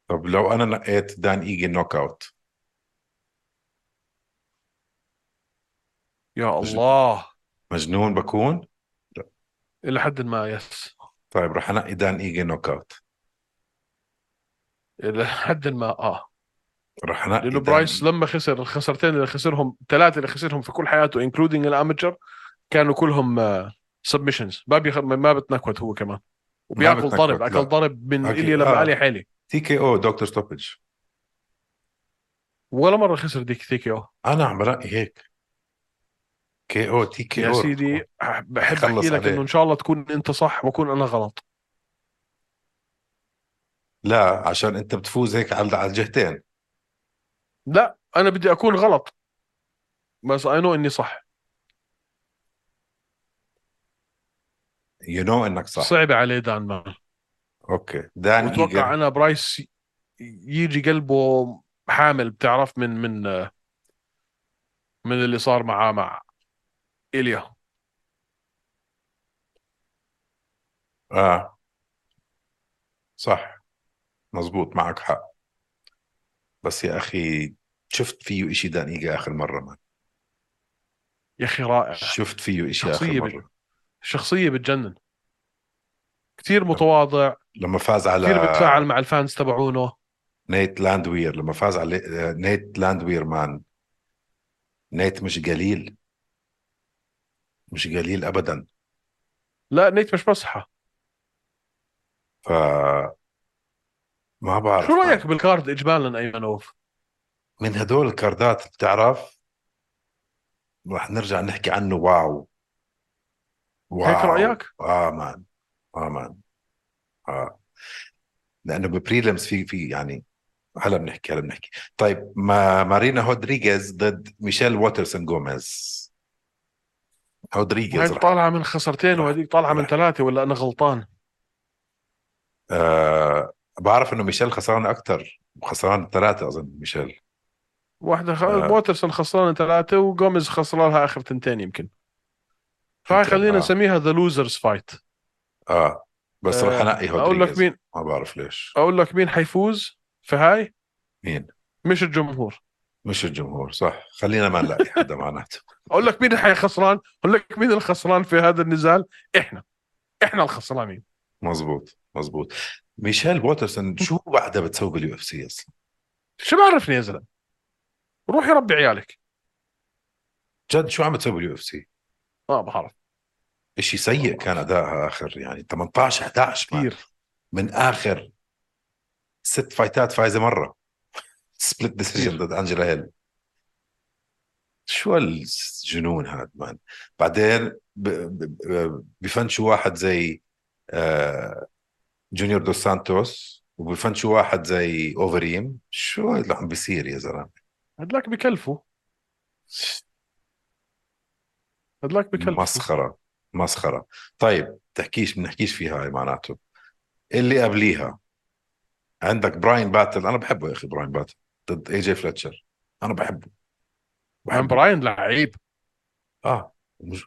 Speaker 1: طب لو انا نقيت دان ايجي نوك اوت
Speaker 2: يا الله
Speaker 1: مجنون بكون
Speaker 2: الى حد ما يس
Speaker 1: طيب رح انقي دان ايجي نوك اوت
Speaker 2: الى حد ما اه
Speaker 1: رح انقي
Speaker 2: لانه
Speaker 1: دان-
Speaker 2: برايس لما خسر الخسرتين اللي خسرهم الثلاثه اللي خسرهم في كل حياته انكلودينج الاماتشر كانوا كلهم سبمشنز ما بيخ... ما بتنكوت هو كمان وبياكل
Speaker 1: بتنكوت،
Speaker 2: ضرب
Speaker 1: لا.
Speaker 2: اكل ضرب من
Speaker 1: أكيد،
Speaker 2: ايليا لما
Speaker 1: آه.
Speaker 2: علي حالي
Speaker 1: تي كي او دكتور ستوبج
Speaker 2: ولا مره خسر ديك تيكي او
Speaker 1: انا عم بنقي هيك كي او تي كي
Speaker 2: يا
Speaker 1: او
Speaker 2: سيدي بحب
Speaker 1: خلص
Speaker 2: احكي لك
Speaker 1: عليه.
Speaker 2: انه ان شاء الله تكون انت صح واكون انا غلط
Speaker 1: لا عشان انت بتفوز هيك على على الجهتين
Speaker 2: لا انا بدي اكون غلط بس اي نو اني صح
Speaker 1: يو نو انك صح
Speaker 2: صعب عليه دان مان
Speaker 1: اوكي دان
Speaker 2: واتوقع
Speaker 1: ايجل
Speaker 2: انا برايس ي- يجي قلبه حامل بتعرف من من من اللي صار معاه مع ايليا
Speaker 1: اه صح مزبوط معك حق بس يا اخي شفت فيه اشي دان ايجل اخر مره مان
Speaker 2: يا اخي رائع
Speaker 1: شفت فيه اشي اخر
Speaker 2: آه. شخصية
Speaker 1: مره
Speaker 2: شخصية بتجنن كثير متواضع
Speaker 1: لما فاز
Speaker 2: كثير
Speaker 1: على
Speaker 2: بتفاعل مع الفانز تبعونه
Speaker 1: نيت لاندوير لما فاز على آه، نيت لاندوير مان نيت مش قليل مش قليل ابدا
Speaker 2: لا نيت مش مسحة
Speaker 1: ف ما بعرف
Speaker 2: شو
Speaker 1: مان.
Speaker 2: رأيك بالكارد إجمالا أيمنوف
Speaker 1: من هدول الكاردات بتعرف رح نرجع نحكي عنه واو واو
Speaker 2: هيك رأيك
Speaker 1: اه مان اه مان اه لانه ببريلمز في في يعني هلا بنحكي هلا بنحكي طيب ما مارينا هودريغيز ضد ميشيل واترسون جوميز هودريغيز
Speaker 2: هيك
Speaker 1: رح
Speaker 2: طالعة من خسرتين
Speaker 1: رح-
Speaker 2: وهذيك طالعة من
Speaker 1: رح.
Speaker 2: ثلاثة ولا أنا غلطان
Speaker 1: آه بعرف انه ميشيل خسران اكثر خسران ثلاثة اظن ميشيل
Speaker 2: واحدة خ...
Speaker 1: آه.
Speaker 2: واترسون خسران ثلاثة وجوميز خسران لها آخر تنتين يمكن فهاي
Speaker 1: يمكن،
Speaker 2: خلينا
Speaker 1: آه.
Speaker 2: نسميها ذا لوزرز فايت
Speaker 1: اه بس رح
Speaker 2: آه،
Speaker 1: انقي
Speaker 2: أقول لك
Speaker 1: هودريغيز
Speaker 2: مين
Speaker 1: ما بعرف ليش
Speaker 2: أقول لك مين حيفوز في هاي
Speaker 1: مين
Speaker 2: مش الجمهور
Speaker 1: مش الجمهور صح خلينا ما نلاقي حدا معناته
Speaker 2: أقول لك مين اللي خسران أقول لك مين الخسران في هذا النزال إحنا إحنا الخسرانين
Speaker 1: مزبوط مزبوط ميشيل واترسون شو بعدها بتسوي باليو اف سي اصلا
Speaker 2: شو بعرفني يا زلمة روح يربي عيالك
Speaker 1: جد شو عم بتسوي باليو اف سي
Speaker 2: ما بعرف
Speaker 1: شيء سيء كان ادائها اخر يعني 18 11 مان.
Speaker 2: كثير
Speaker 1: من اخر ست فايتات فايزه [laughs] مره سبليت ديسيجن
Speaker 2: كتير.
Speaker 1: ضد انجلا هيل شو الجنون هذا مان بعدين ب- ب- ب- بفنشوا واحد زي آه، جونيور دوس سانتوس وبفنشوا واحد زي اوفريم شو اللي عم بيصير يا زلمه
Speaker 2: هدلاك بكلفوا هدلاك بكلفوا
Speaker 1: مسخرة مسخرة طيب تحكيش بنحكيش فيها هاي معناته اللي قبليها عندك براين باتل انا بحبه يا اخي براين باتل ضد اي جي فلتشر انا بحبه
Speaker 2: عم براين لعيب
Speaker 1: اه مش...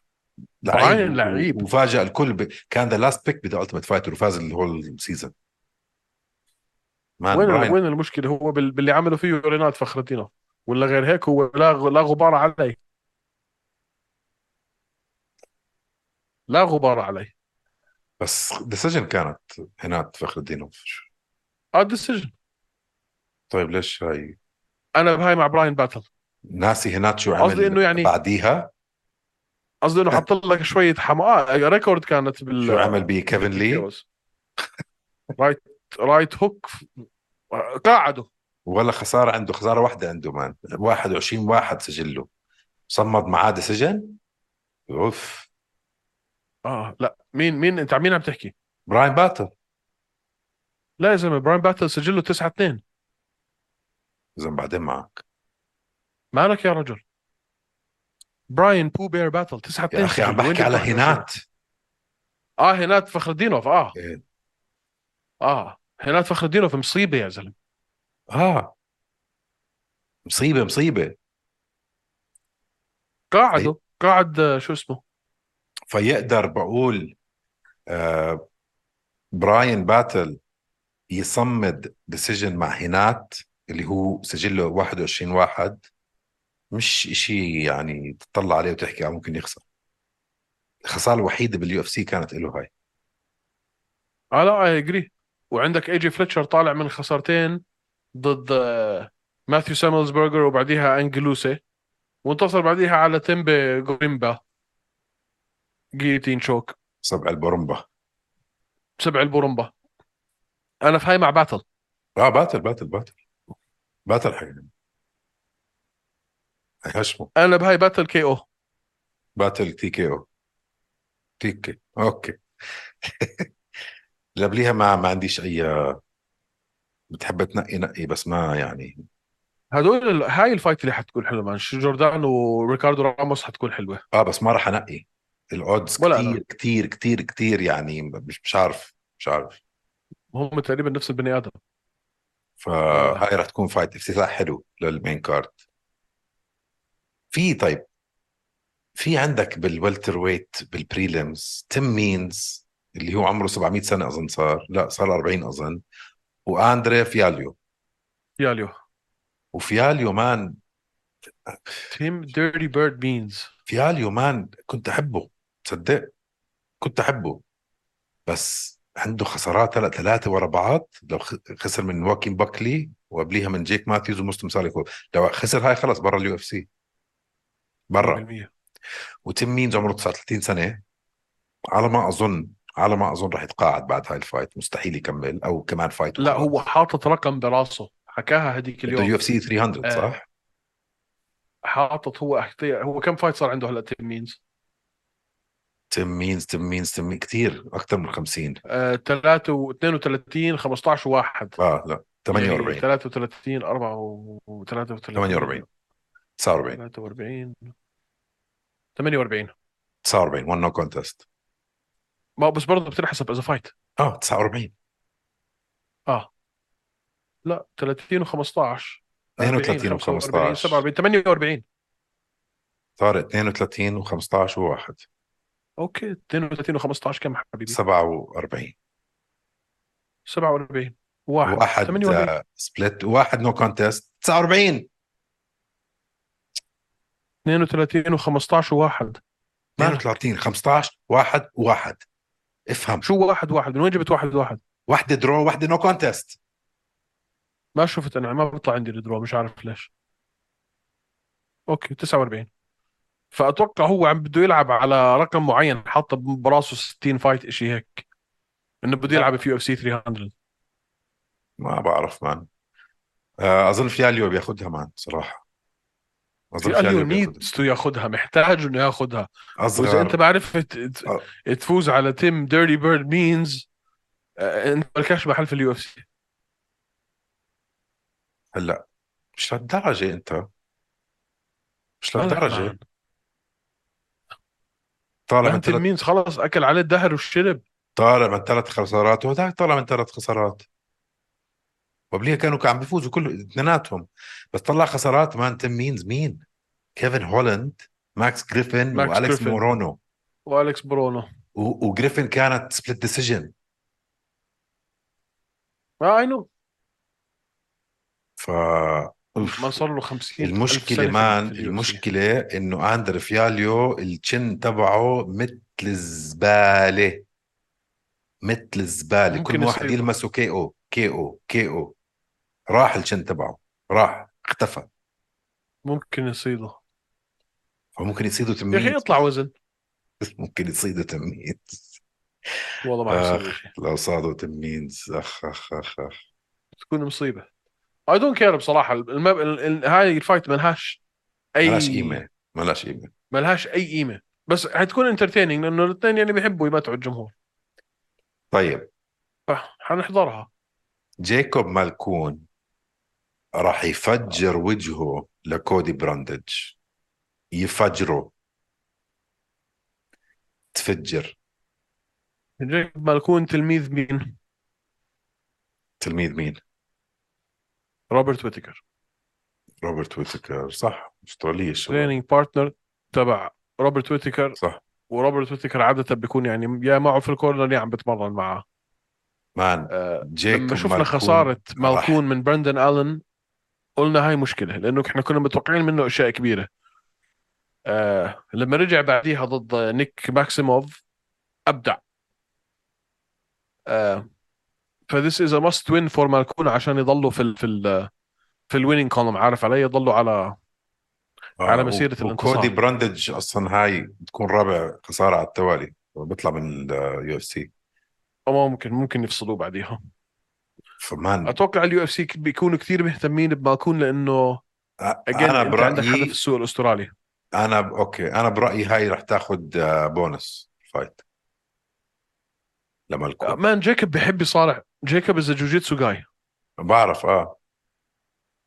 Speaker 2: براين لعيب.
Speaker 1: وفاجأ الكل ب... كان ذا لاست بيك بذا التيمت فايتر وفاز الهول سيزون مان
Speaker 2: وين
Speaker 1: براين
Speaker 2: وين المشكله هو بال- باللي عمله فيه رينات فخر الدينه ولا غير هيك هو لا غ- لا غبار عليه لا غبار عليه
Speaker 1: بس ديسيجن كانت هناك فخر الدين وفش.
Speaker 2: اه ديسيجن
Speaker 1: طيب ليش هاي
Speaker 2: انا بهاي مع براين باتل
Speaker 1: ناسي هناك شو عمل
Speaker 2: قصدي إنه يعني-
Speaker 1: بعديها
Speaker 2: قصدي انه حط لك شويه حماء ريكورد كانت بال
Speaker 1: شو عمل بكيفن لي
Speaker 2: رايت رايت هوك قاعده
Speaker 1: ولا خساره عنده خساره واحده عنده مان 21 واحد سجله صمد معاه سجن اوف
Speaker 2: اه لا مين مين انت عن مين عم تحكي؟
Speaker 1: براين باتل
Speaker 2: لا يا زلمه براين باتل سجله 9 2
Speaker 1: اذا بعدين معك
Speaker 2: مالك يا رجل براين بو بير باتل 9 2
Speaker 1: يا اخي عم بحكي على هنات
Speaker 2: اه هنات فخر الدينوف اه
Speaker 1: إيه.
Speaker 2: اه هنات فخر الدينوف مصيبه يا زلمه
Speaker 1: اه مصيبه مصيبه
Speaker 2: قاعده قاعد آه، شو اسمه
Speaker 1: فيقدر بقول آه براين باتل يصمد ديسيجن مع هينات اللي هو سجله 21 واحد مش شيء يعني تطلع عليه وتحكي آه ممكن يخسر الخساره الوحيده باليو اف سي كانت له هاي
Speaker 2: اه لا اي اجري وعندك اي جي فليتشر طالع من خسارتين ضد آه، ماثيو ساملزبرجر وبعديها انجلوسي وانتصر بعديها على تيمبي غوريمبا جيتين شوك
Speaker 1: سبع البرمبه
Speaker 2: سبع البورمبا انا في هاي مع باتل
Speaker 1: اه باتل باتل باتل باتل حقيقي هشمه
Speaker 2: انا بهاي باتل كي او
Speaker 1: باتل تي كي او تي كي [laughs] اوكي اللي قبليها ما ما عنديش اي بتحب تنقي نقي بس ما يعني
Speaker 2: هدول ال- هاي الفايت اللي حتكون حلوه مان شو جوردان وريكاردو راموس حتكون حلوه
Speaker 1: اه بس ما راح انقي الاودز
Speaker 2: ولا
Speaker 1: كتير كتير كتير كتير يعني مش مش عارف مش عارف
Speaker 2: هم تقريبا نفس البني ادم
Speaker 1: فهاي راح تكون فايت افتتاح حلو للمين كارد في طيب في عندك بالويلتر ويت بالبريليمز تيم مينز اللي هو عمره 700 سنه اظن صار لا صار 40 اظن واندري فياليو
Speaker 2: يا ليو
Speaker 1: وفياليو مان
Speaker 2: تيم ديرتي بيرد بينز
Speaker 1: فياليو مان كنت احبه تصدق كنت احبه بس عنده خسارات هلا ثلاثه ورا بعض لو خ- خسر من واكين باكلي وقبليها من جيك ماثيوز ومسلم سالكو لو خسر هاي خلص برا اليو اف سي برا
Speaker 2: 100%
Speaker 1: وتيم مينز عمره 39 سنه على ما اظن على ما اظن راح يتقاعد بعد هاي الفايت مستحيل يكمل او كمان فايت
Speaker 2: لا هو حاطط رقم براسه حكاها هذيك
Speaker 1: اليو
Speaker 2: اليوم
Speaker 1: اف سي 300
Speaker 2: آه.
Speaker 1: صح؟
Speaker 2: حاطط هو أحتي- هو كم فايت صار عنده هلا تيم مينز؟
Speaker 1: تيم مينز تيم مينز تيم مينز كثير اكثر من 50
Speaker 2: آه، 3 32 15 واحد
Speaker 1: اه لا 48
Speaker 2: يعني 33 34
Speaker 1: 48 49
Speaker 2: 43 48
Speaker 1: 49 ون نو كونتست
Speaker 2: ما بس برضه بتنحسب اذا فايت
Speaker 1: اه 49
Speaker 2: آه. لا 30 و15
Speaker 1: 32 و15
Speaker 2: 47 48
Speaker 1: صار 32 و15 و1
Speaker 2: اوكي 32 و15 كم حبيبي
Speaker 1: 47
Speaker 2: 47 واحد
Speaker 1: واحد
Speaker 2: 48
Speaker 1: آه، سبلت واحد نو كونتست 49
Speaker 2: 32 و15 وواحد ما-
Speaker 1: 32 15 واحد واحد افهم
Speaker 2: شو واحد واحد من وين جبت واحد واحد
Speaker 1: واحدة درو واحدة نو كونتست
Speaker 2: ما شفت انا ما بيطلع عندي الدرو مش عارف ليش اوكي 49 فاتوقع هو عم بده يلعب على رقم معين حاطه براسه 60 فايت شيء هيك انه بده يلعب في يو اف سي 300
Speaker 1: ما بعرف مان آه، اظن فياليو بياخذها مان صراحة اظن
Speaker 2: اليو
Speaker 1: بياخدها.
Speaker 2: نيدز تو ياخذها محتاج انه ياخذها واذا انت
Speaker 1: اصغر
Speaker 2: ما عرفت ت-
Speaker 1: آه.
Speaker 2: تفوز على تيم ديرتي بيرد مينز آه، انت مالكش محل في اليو اف سي
Speaker 1: هلا مش لهالدرجة انت مش
Speaker 2: آه.
Speaker 1: لهالدرجة طالع من
Speaker 2: تيم
Speaker 1: ثلاث
Speaker 2: مينز خلص اكل عليه الدهر والشرب
Speaker 1: طالع من ثلاث خسارات وهذاك طالع من ثلاث خسارات وقبليها كانوا عم بيفوزوا كل اثنيناتهم بس طلع خسارات مان تيم مينز مين؟ كيفن هولند ماكس جريفن
Speaker 2: ماكس
Speaker 1: والكس
Speaker 2: جريفن.
Speaker 1: مورونو
Speaker 2: والكس برونو
Speaker 1: و- وجريفن كانت سبليت ديسيجن
Speaker 2: ما اي نو
Speaker 1: ف
Speaker 2: ما صار له 50 ألف سنة
Speaker 1: المشكله
Speaker 2: في-
Speaker 1: مان
Speaker 2: في ال UFC.
Speaker 1: المشكله انه اندر فياليو التشن تبعه مثل الزباله مثل الزباله
Speaker 2: ممكن
Speaker 1: كل واحد
Speaker 2: يصير.
Speaker 1: يلمسه كي او كي او كي او راح التشن تبعه راح اختفى
Speaker 2: ممكن يصيده
Speaker 1: فممكن يصيده
Speaker 2: يا اخي
Speaker 1: تمييز
Speaker 2: يطلع وزن
Speaker 1: [laughs] ممكن يصيده تمييز
Speaker 2: والله ما
Speaker 1: آخ.
Speaker 2: حيصير شيء
Speaker 1: لو صادوا تمييز اخ اخ اخ اخ
Speaker 2: تكون مصيبه اي دونت كير بصراحه الم... ال... ال... هاي الفايت ملهاش اي
Speaker 1: ملاش قيمه ملاش قيمه
Speaker 2: ملهاش اي قيمه بس حتكون انترتيننج لانه الاثنين يعني بيحبوا يمتعوا الجمهور
Speaker 1: طيب
Speaker 2: فحنحضرها
Speaker 1: جيكوب مالكون راح يفجر وجهه لكودي براندج يفجره تفجر
Speaker 2: جيك مالكون تلميذ مين؟
Speaker 1: تلميذ مين؟
Speaker 2: روبرت ويتكر
Speaker 1: روبرت ويتكر صح استراليا الشباب
Speaker 2: تريننج بارتنر تبع روبرت ويتكر
Speaker 1: صح
Speaker 2: وروبرت ويتكر عاده بيكون يعني يا معه في الكورنر يا عم بتمرن معه
Speaker 1: مان
Speaker 2: آه،
Speaker 1: جيكوب
Speaker 2: لما شفنا
Speaker 1: مالكون
Speaker 2: خساره
Speaker 1: راح.
Speaker 2: مالكون من برندن الن قلنا هاي مشكله لانه احنا كنا متوقعين منه اشياء كبيره آه لما رجع بعديها ضد نيك ماكسيموف ابدع آه فذس از ماست وين فور مالكون عشان يضلوا في ال في ال في الويننج كولوم عارف علي يضلوا على على
Speaker 1: آه،
Speaker 2: مسيرة
Speaker 1: و-
Speaker 2: الانتصار.
Speaker 1: وكودي براندج اصلا هاي بتكون رابع خساره على التوالي بيطلع من اليو اف سي
Speaker 2: ما ممكن ممكن يفصلوه بعديها
Speaker 1: فمان
Speaker 2: اتوقع اليو اف سي بيكونوا كثير مهتمين بمالكون لانه
Speaker 1: أ-
Speaker 2: again
Speaker 1: انا
Speaker 2: انت عندك حدا في
Speaker 1: برايي
Speaker 2: السوق الاسترالي
Speaker 1: انا ب- اوكي انا برايي هاي رح تاخذ بونس فايت لما الكون
Speaker 2: مان جيكوب بحب يصارع جيكوب از جوجيتسو جاي
Speaker 1: بعرف اه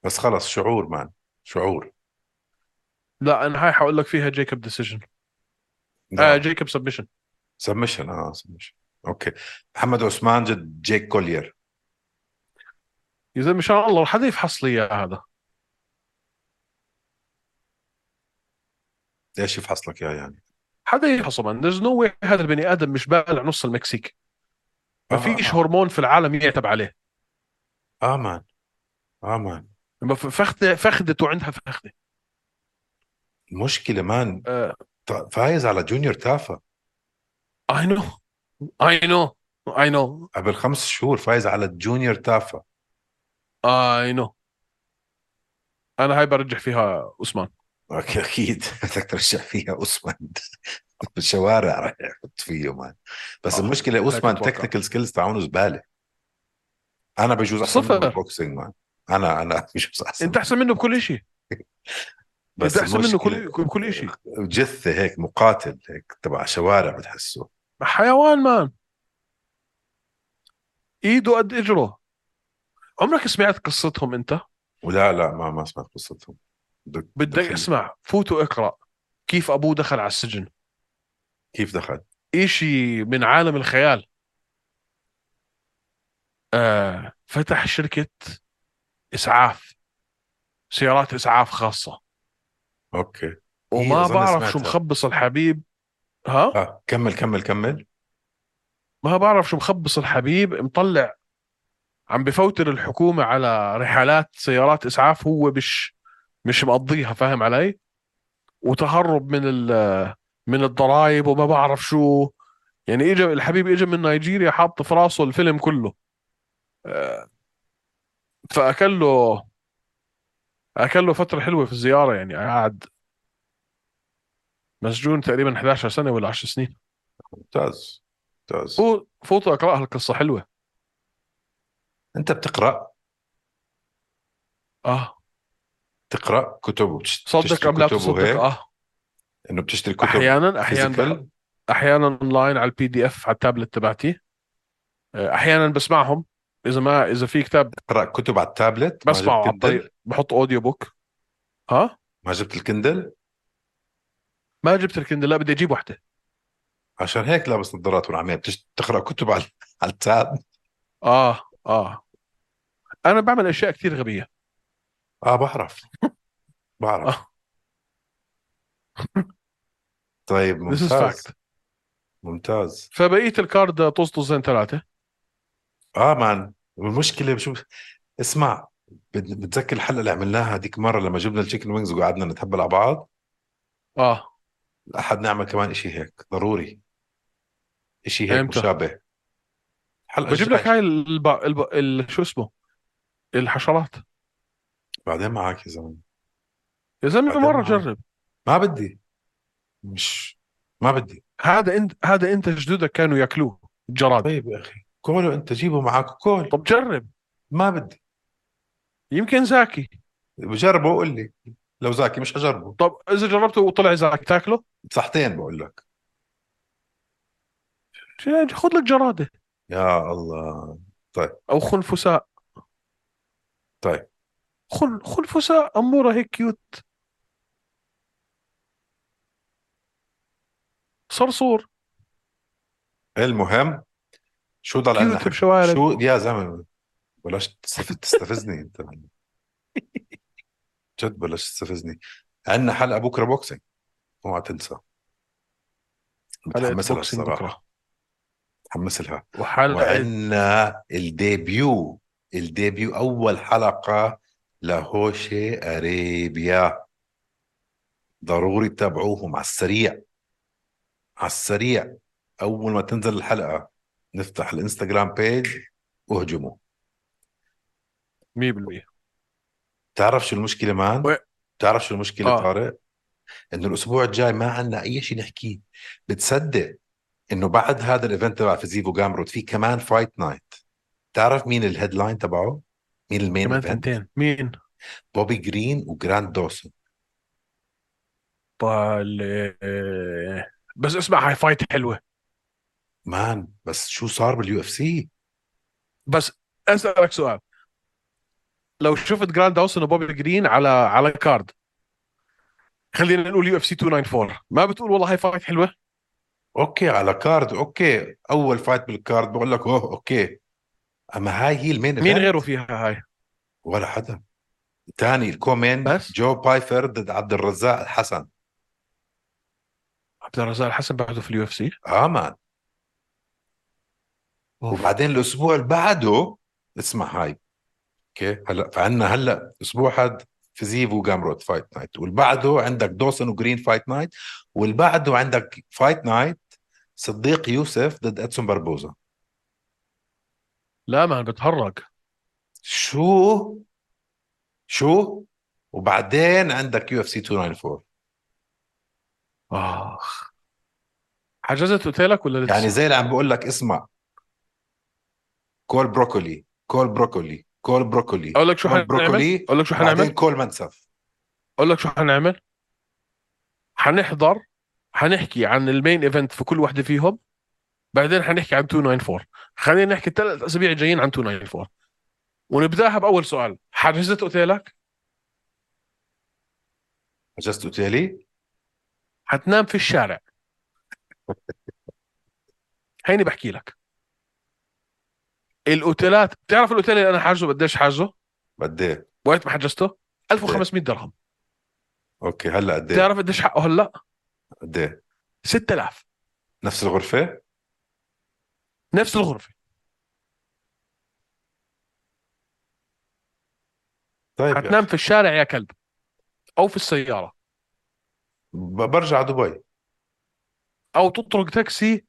Speaker 1: بس خلص شعور مان شعور
Speaker 2: لا انا هاي حقول لك فيها جيكوب ديسيجن
Speaker 1: نعم.
Speaker 2: آه جيكوب سبمشن
Speaker 1: سبمشن اه سبمشن اوكي محمد عثمان جد جيك كولير
Speaker 2: يا زلمه ان شاء الله حدا يفحص لي اياه هذا
Speaker 1: ايش يفحص لك اياه يعني؟
Speaker 2: حدا يفحصه مان there's no way هذا البني ادم مش بالع نص المكسيك ما
Speaker 1: آه،
Speaker 2: فيش هرمون في العالم يعتب عليه
Speaker 1: اه مان اه مان
Speaker 2: ما ف- فخده فخدته عندها فخده
Speaker 1: المشكله مان
Speaker 2: آه،
Speaker 1: ط- فايز على جونيور تافا
Speaker 2: I know I know I know
Speaker 1: قبل خمس شهور فايز على جونيور تافا
Speaker 2: I know انا هاي برجح فيها عثمان
Speaker 1: اوكي [laughs] اكيد بدك ترجع فيها اوسمان بالشوارع رح يحط فيه مان بس
Speaker 2: آه،
Speaker 1: المشكله اوسمان
Speaker 2: أتوقع.
Speaker 1: تكنيكال سكيلز تاعونه زباله انا بجوز احسن منه
Speaker 2: صفر.
Speaker 1: بالبوكسينج مان انا انا [laughs] بجوز احسن
Speaker 2: انت احسن منه بكل شيء
Speaker 1: بس
Speaker 2: انت احسن منه
Speaker 1: المشكلة
Speaker 2: كل بكل شيء
Speaker 1: جثه هيك مقاتل هيك تبع شوارع بتحسه
Speaker 2: حيوان مان ايده قد اجره عمرك سمعت قصتهم انت
Speaker 1: ولا لا ما ما سمعت قصتهم بدك
Speaker 2: بدك
Speaker 1: دخل.
Speaker 2: اسمع فوت واقرا كيف ابوه دخل على السجن
Speaker 1: كيف دخل
Speaker 2: إشي من عالم الخيال آه فتح شركة إسعاف سيارات إسعاف خاصة
Speaker 1: اوكي إيه،
Speaker 2: وما
Speaker 1: أظن
Speaker 2: بعرف شو
Speaker 1: سمعتها.
Speaker 2: مخبص الحبيب ها
Speaker 1: اه كمل كمل كمل
Speaker 2: ما بعرف شو مخبص الحبيب مطلع عم بفوتر الحكومة على رحلات سيارات إسعاف هو مش مش مقضيها فاهم علي وتهرب من ال- من الضرائب وما بعرف شو يعني اجى الحبيب اجى من نيجيريا حاط في راسه الفيلم كله آه، فاكل له اكل له فتره حلوه في الزياره يعني قعد مسجون تقريبا 11 سنه ولا 10 سنين
Speaker 1: ممتاز ممتاز
Speaker 2: فو- فوتوا اقراها القصه حلوه
Speaker 1: انت بتقرا
Speaker 2: اه
Speaker 1: تقرا كتب وبتش-
Speaker 2: صدق
Speaker 1: بتشتري
Speaker 2: ام لا
Speaker 1: كتب
Speaker 2: تصدق
Speaker 1: وهيك؟
Speaker 2: اه
Speaker 1: انه بتشتري كتب
Speaker 2: احيانا احيانا
Speaker 1: physical؟
Speaker 2: بح- احيانا اونلاين على البي دي اف على التابلت تبعتي آه، احيانا بسمعهم اذا ما اذا في كتاب
Speaker 1: تقرا كتب على التابلت ما
Speaker 2: بسمعه
Speaker 1: جبت
Speaker 2: على
Speaker 1: كندل
Speaker 2: الطريق بحط اوديو بوك ها
Speaker 1: ما جبت الكندل
Speaker 2: ما جبت الكندل لا بدي اجيب وحده
Speaker 1: عشان هيك لابس نظارات والعمية بتش... تقرا كتب على [laughs] على التاب
Speaker 2: اه اه انا بعمل اشياء كثير غبيه
Speaker 1: اه بعرف
Speaker 2: [laughs]
Speaker 1: بعرف
Speaker 2: آه.
Speaker 1: طيب
Speaker 2: This is
Speaker 1: ممتاز
Speaker 2: fact
Speaker 1: ممتاز
Speaker 2: فبقيه الكارد طز طزين ثلاثه
Speaker 1: اه مان والمشكله شو اسمع بت- بتذكر الحلقه اللي عملناها هذيك مره لما جبنا التشيكن وينجز وقعدنا نتهبل على بعض
Speaker 2: اه
Speaker 1: احد نعمل كمان إشي هيك ضروري إشي هيك
Speaker 2: إمتى؟
Speaker 1: مشابه الحلقه
Speaker 2: بجيب لك
Speaker 1: الجاية.
Speaker 2: هاي الب... الب... ال... شو اسمه الحشرات
Speaker 1: بعدين معك يا زلمه
Speaker 2: يا زلمه
Speaker 1: بعدين
Speaker 2: مره
Speaker 1: معاي.
Speaker 2: جرب
Speaker 1: ما بدي مش ما بدي
Speaker 2: هذا انت هذا انت جدودك كانوا ياكلوه الجراد
Speaker 1: طيب يا اخي كولو انت جيبه معك كول
Speaker 2: طب جرب
Speaker 1: ما بدي
Speaker 2: يمكن زاكي
Speaker 1: بجربه وقول لي لو زاكي مش هجربه
Speaker 2: طب اذا جربته وطلع زاكي تاكله
Speaker 1: صحتين بقول لك
Speaker 2: ج- يعني خذ لك جراده
Speaker 1: يا الله
Speaker 2: او خنفساء
Speaker 1: طيب.
Speaker 2: خن خنفساء اموره هيك كيوت صرصور
Speaker 1: المهم شو ضل عندنا
Speaker 2: كيوت
Speaker 1: حكي؟
Speaker 2: بشوارب
Speaker 1: شو يا زلمه بلاش تستف- تستفزني انت جد بلاش تستفزني عندنا حلقه بكره بوكسينج اوعى تنسى
Speaker 2: حلقة
Speaker 1: متحمس لها
Speaker 2: بوكسينج
Speaker 1: الصراحه
Speaker 2: بكرة.
Speaker 1: متحمس لها
Speaker 2: وحلقه
Speaker 1: وعندنا الديبيو الديبيو اول حلقه لهوشي اريبيا ضروري تتابعوهم على السريع على السريع اول ما تنزل الحلقه نفتح الانستغرام بيج واهجموا
Speaker 2: 100%
Speaker 1: تعرف شو المشكله مان
Speaker 2: و-
Speaker 1: تعرف شو المشكله
Speaker 2: آه.
Speaker 1: طارق انه الاسبوع الجاي ما عندنا اي شيء نحكيه بتصدق انه بعد هذا الايفنت تبع فيزيفو جامروت في كمان فايت نايت تعرف مين الهيدلاين تبعه مين المين
Speaker 2: كمان
Speaker 1: ايفنت
Speaker 2: ثنتين مين؟
Speaker 1: بوبي جرين وجراند دوسون
Speaker 2: بال... آه، بس اسمع هاي فايت حلوه
Speaker 1: مان بس شو صار باليو اف سي
Speaker 2: بس اسالك سؤال لو شفت جراند داوسن وبوبي جرين على على كارد خلينا نقول يو اف سي 294 ما بتقول والله هاي فايت حلوه
Speaker 1: اوكي على كارد اوكي اول فايت بالكارد بقول لك اوه اوكي اما هاي هي المين
Speaker 2: مين
Speaker 1: event.
Speaker 2: غيره فيها هاي
Speaker 1: ولا حدا تاني الكومين
Speaker 2: بس؟
Speaker 1: جو بايفر ضد عبد الرزاق الحسن
Speaker 2: عبد الرزاق الحسن بعده في اليو اف سي
Speaker 1: اه مان وبعدين الاسبوع اللي بعده اسمع هاي اوكي هلا فعندنا هلا اسبوع هاد فيزيف وجامروت فايت نايت واللي بعده عندك دوسن وجرين فايت نايت واللي بعده عندك فايت نايت صديق يوسف ضد ادسون بربوزا
Speaker 2: لا ما بتهرج
Speaker 1: شو شو وبعدين عندك يو اف سي 294
Speaker 2: اخ حجزت اوتيلك ولا لسه؟
Speaker 1: يعني زي اللي عم بقول لك اسمع كول بروكولي كول بروكولي كول بروكولي
Speaker 2: اقول لك شو
Speaker 1: كول
Speaker 2: حنعمل؟
Speaker 1: بروكولي
Speaker 2: اقول لك شو
Speaker 1: بعدين
Speaker 2: حنعمل؟
Speaker 1: كول منسف
Speaker 2: اقول لك شو حنعمل؟ حنحضر حنحكي عن المين ايفنت في كل وحده فيهم بعدين حنحكي عن 294 خلينا نحكي الثلاث اسابيع الجايين عن 294 ونبداها باول سؤال حجزت اوتيلك
Speaker 1: حجزت اوتيلي
Speaker 2: حتنام في الشارع هيني بحكي لك الاوتيلات بتعرف الاوتيل اللي انا حاجزه قديش حاجزه
Speaker 1: قد ايه
Speaker 2: وقت ما حجزته 1500 درهم
Speaker 1: اوكي هلا قد ايه
Speaker 2: بتعرف قديش حقه هلا
Speaker 1: قد ايه
Speaker 2: 6000
Speaker 1: نفس الغرفه
Speaker 2: نفس الغرفه
Speaker 1: طيب يا
Speaker 2: حتنام في الشارع يا كلب او في السياره
Speaker 1: ب- برجع على دبي
Speaker 2: او تطرق تاكسي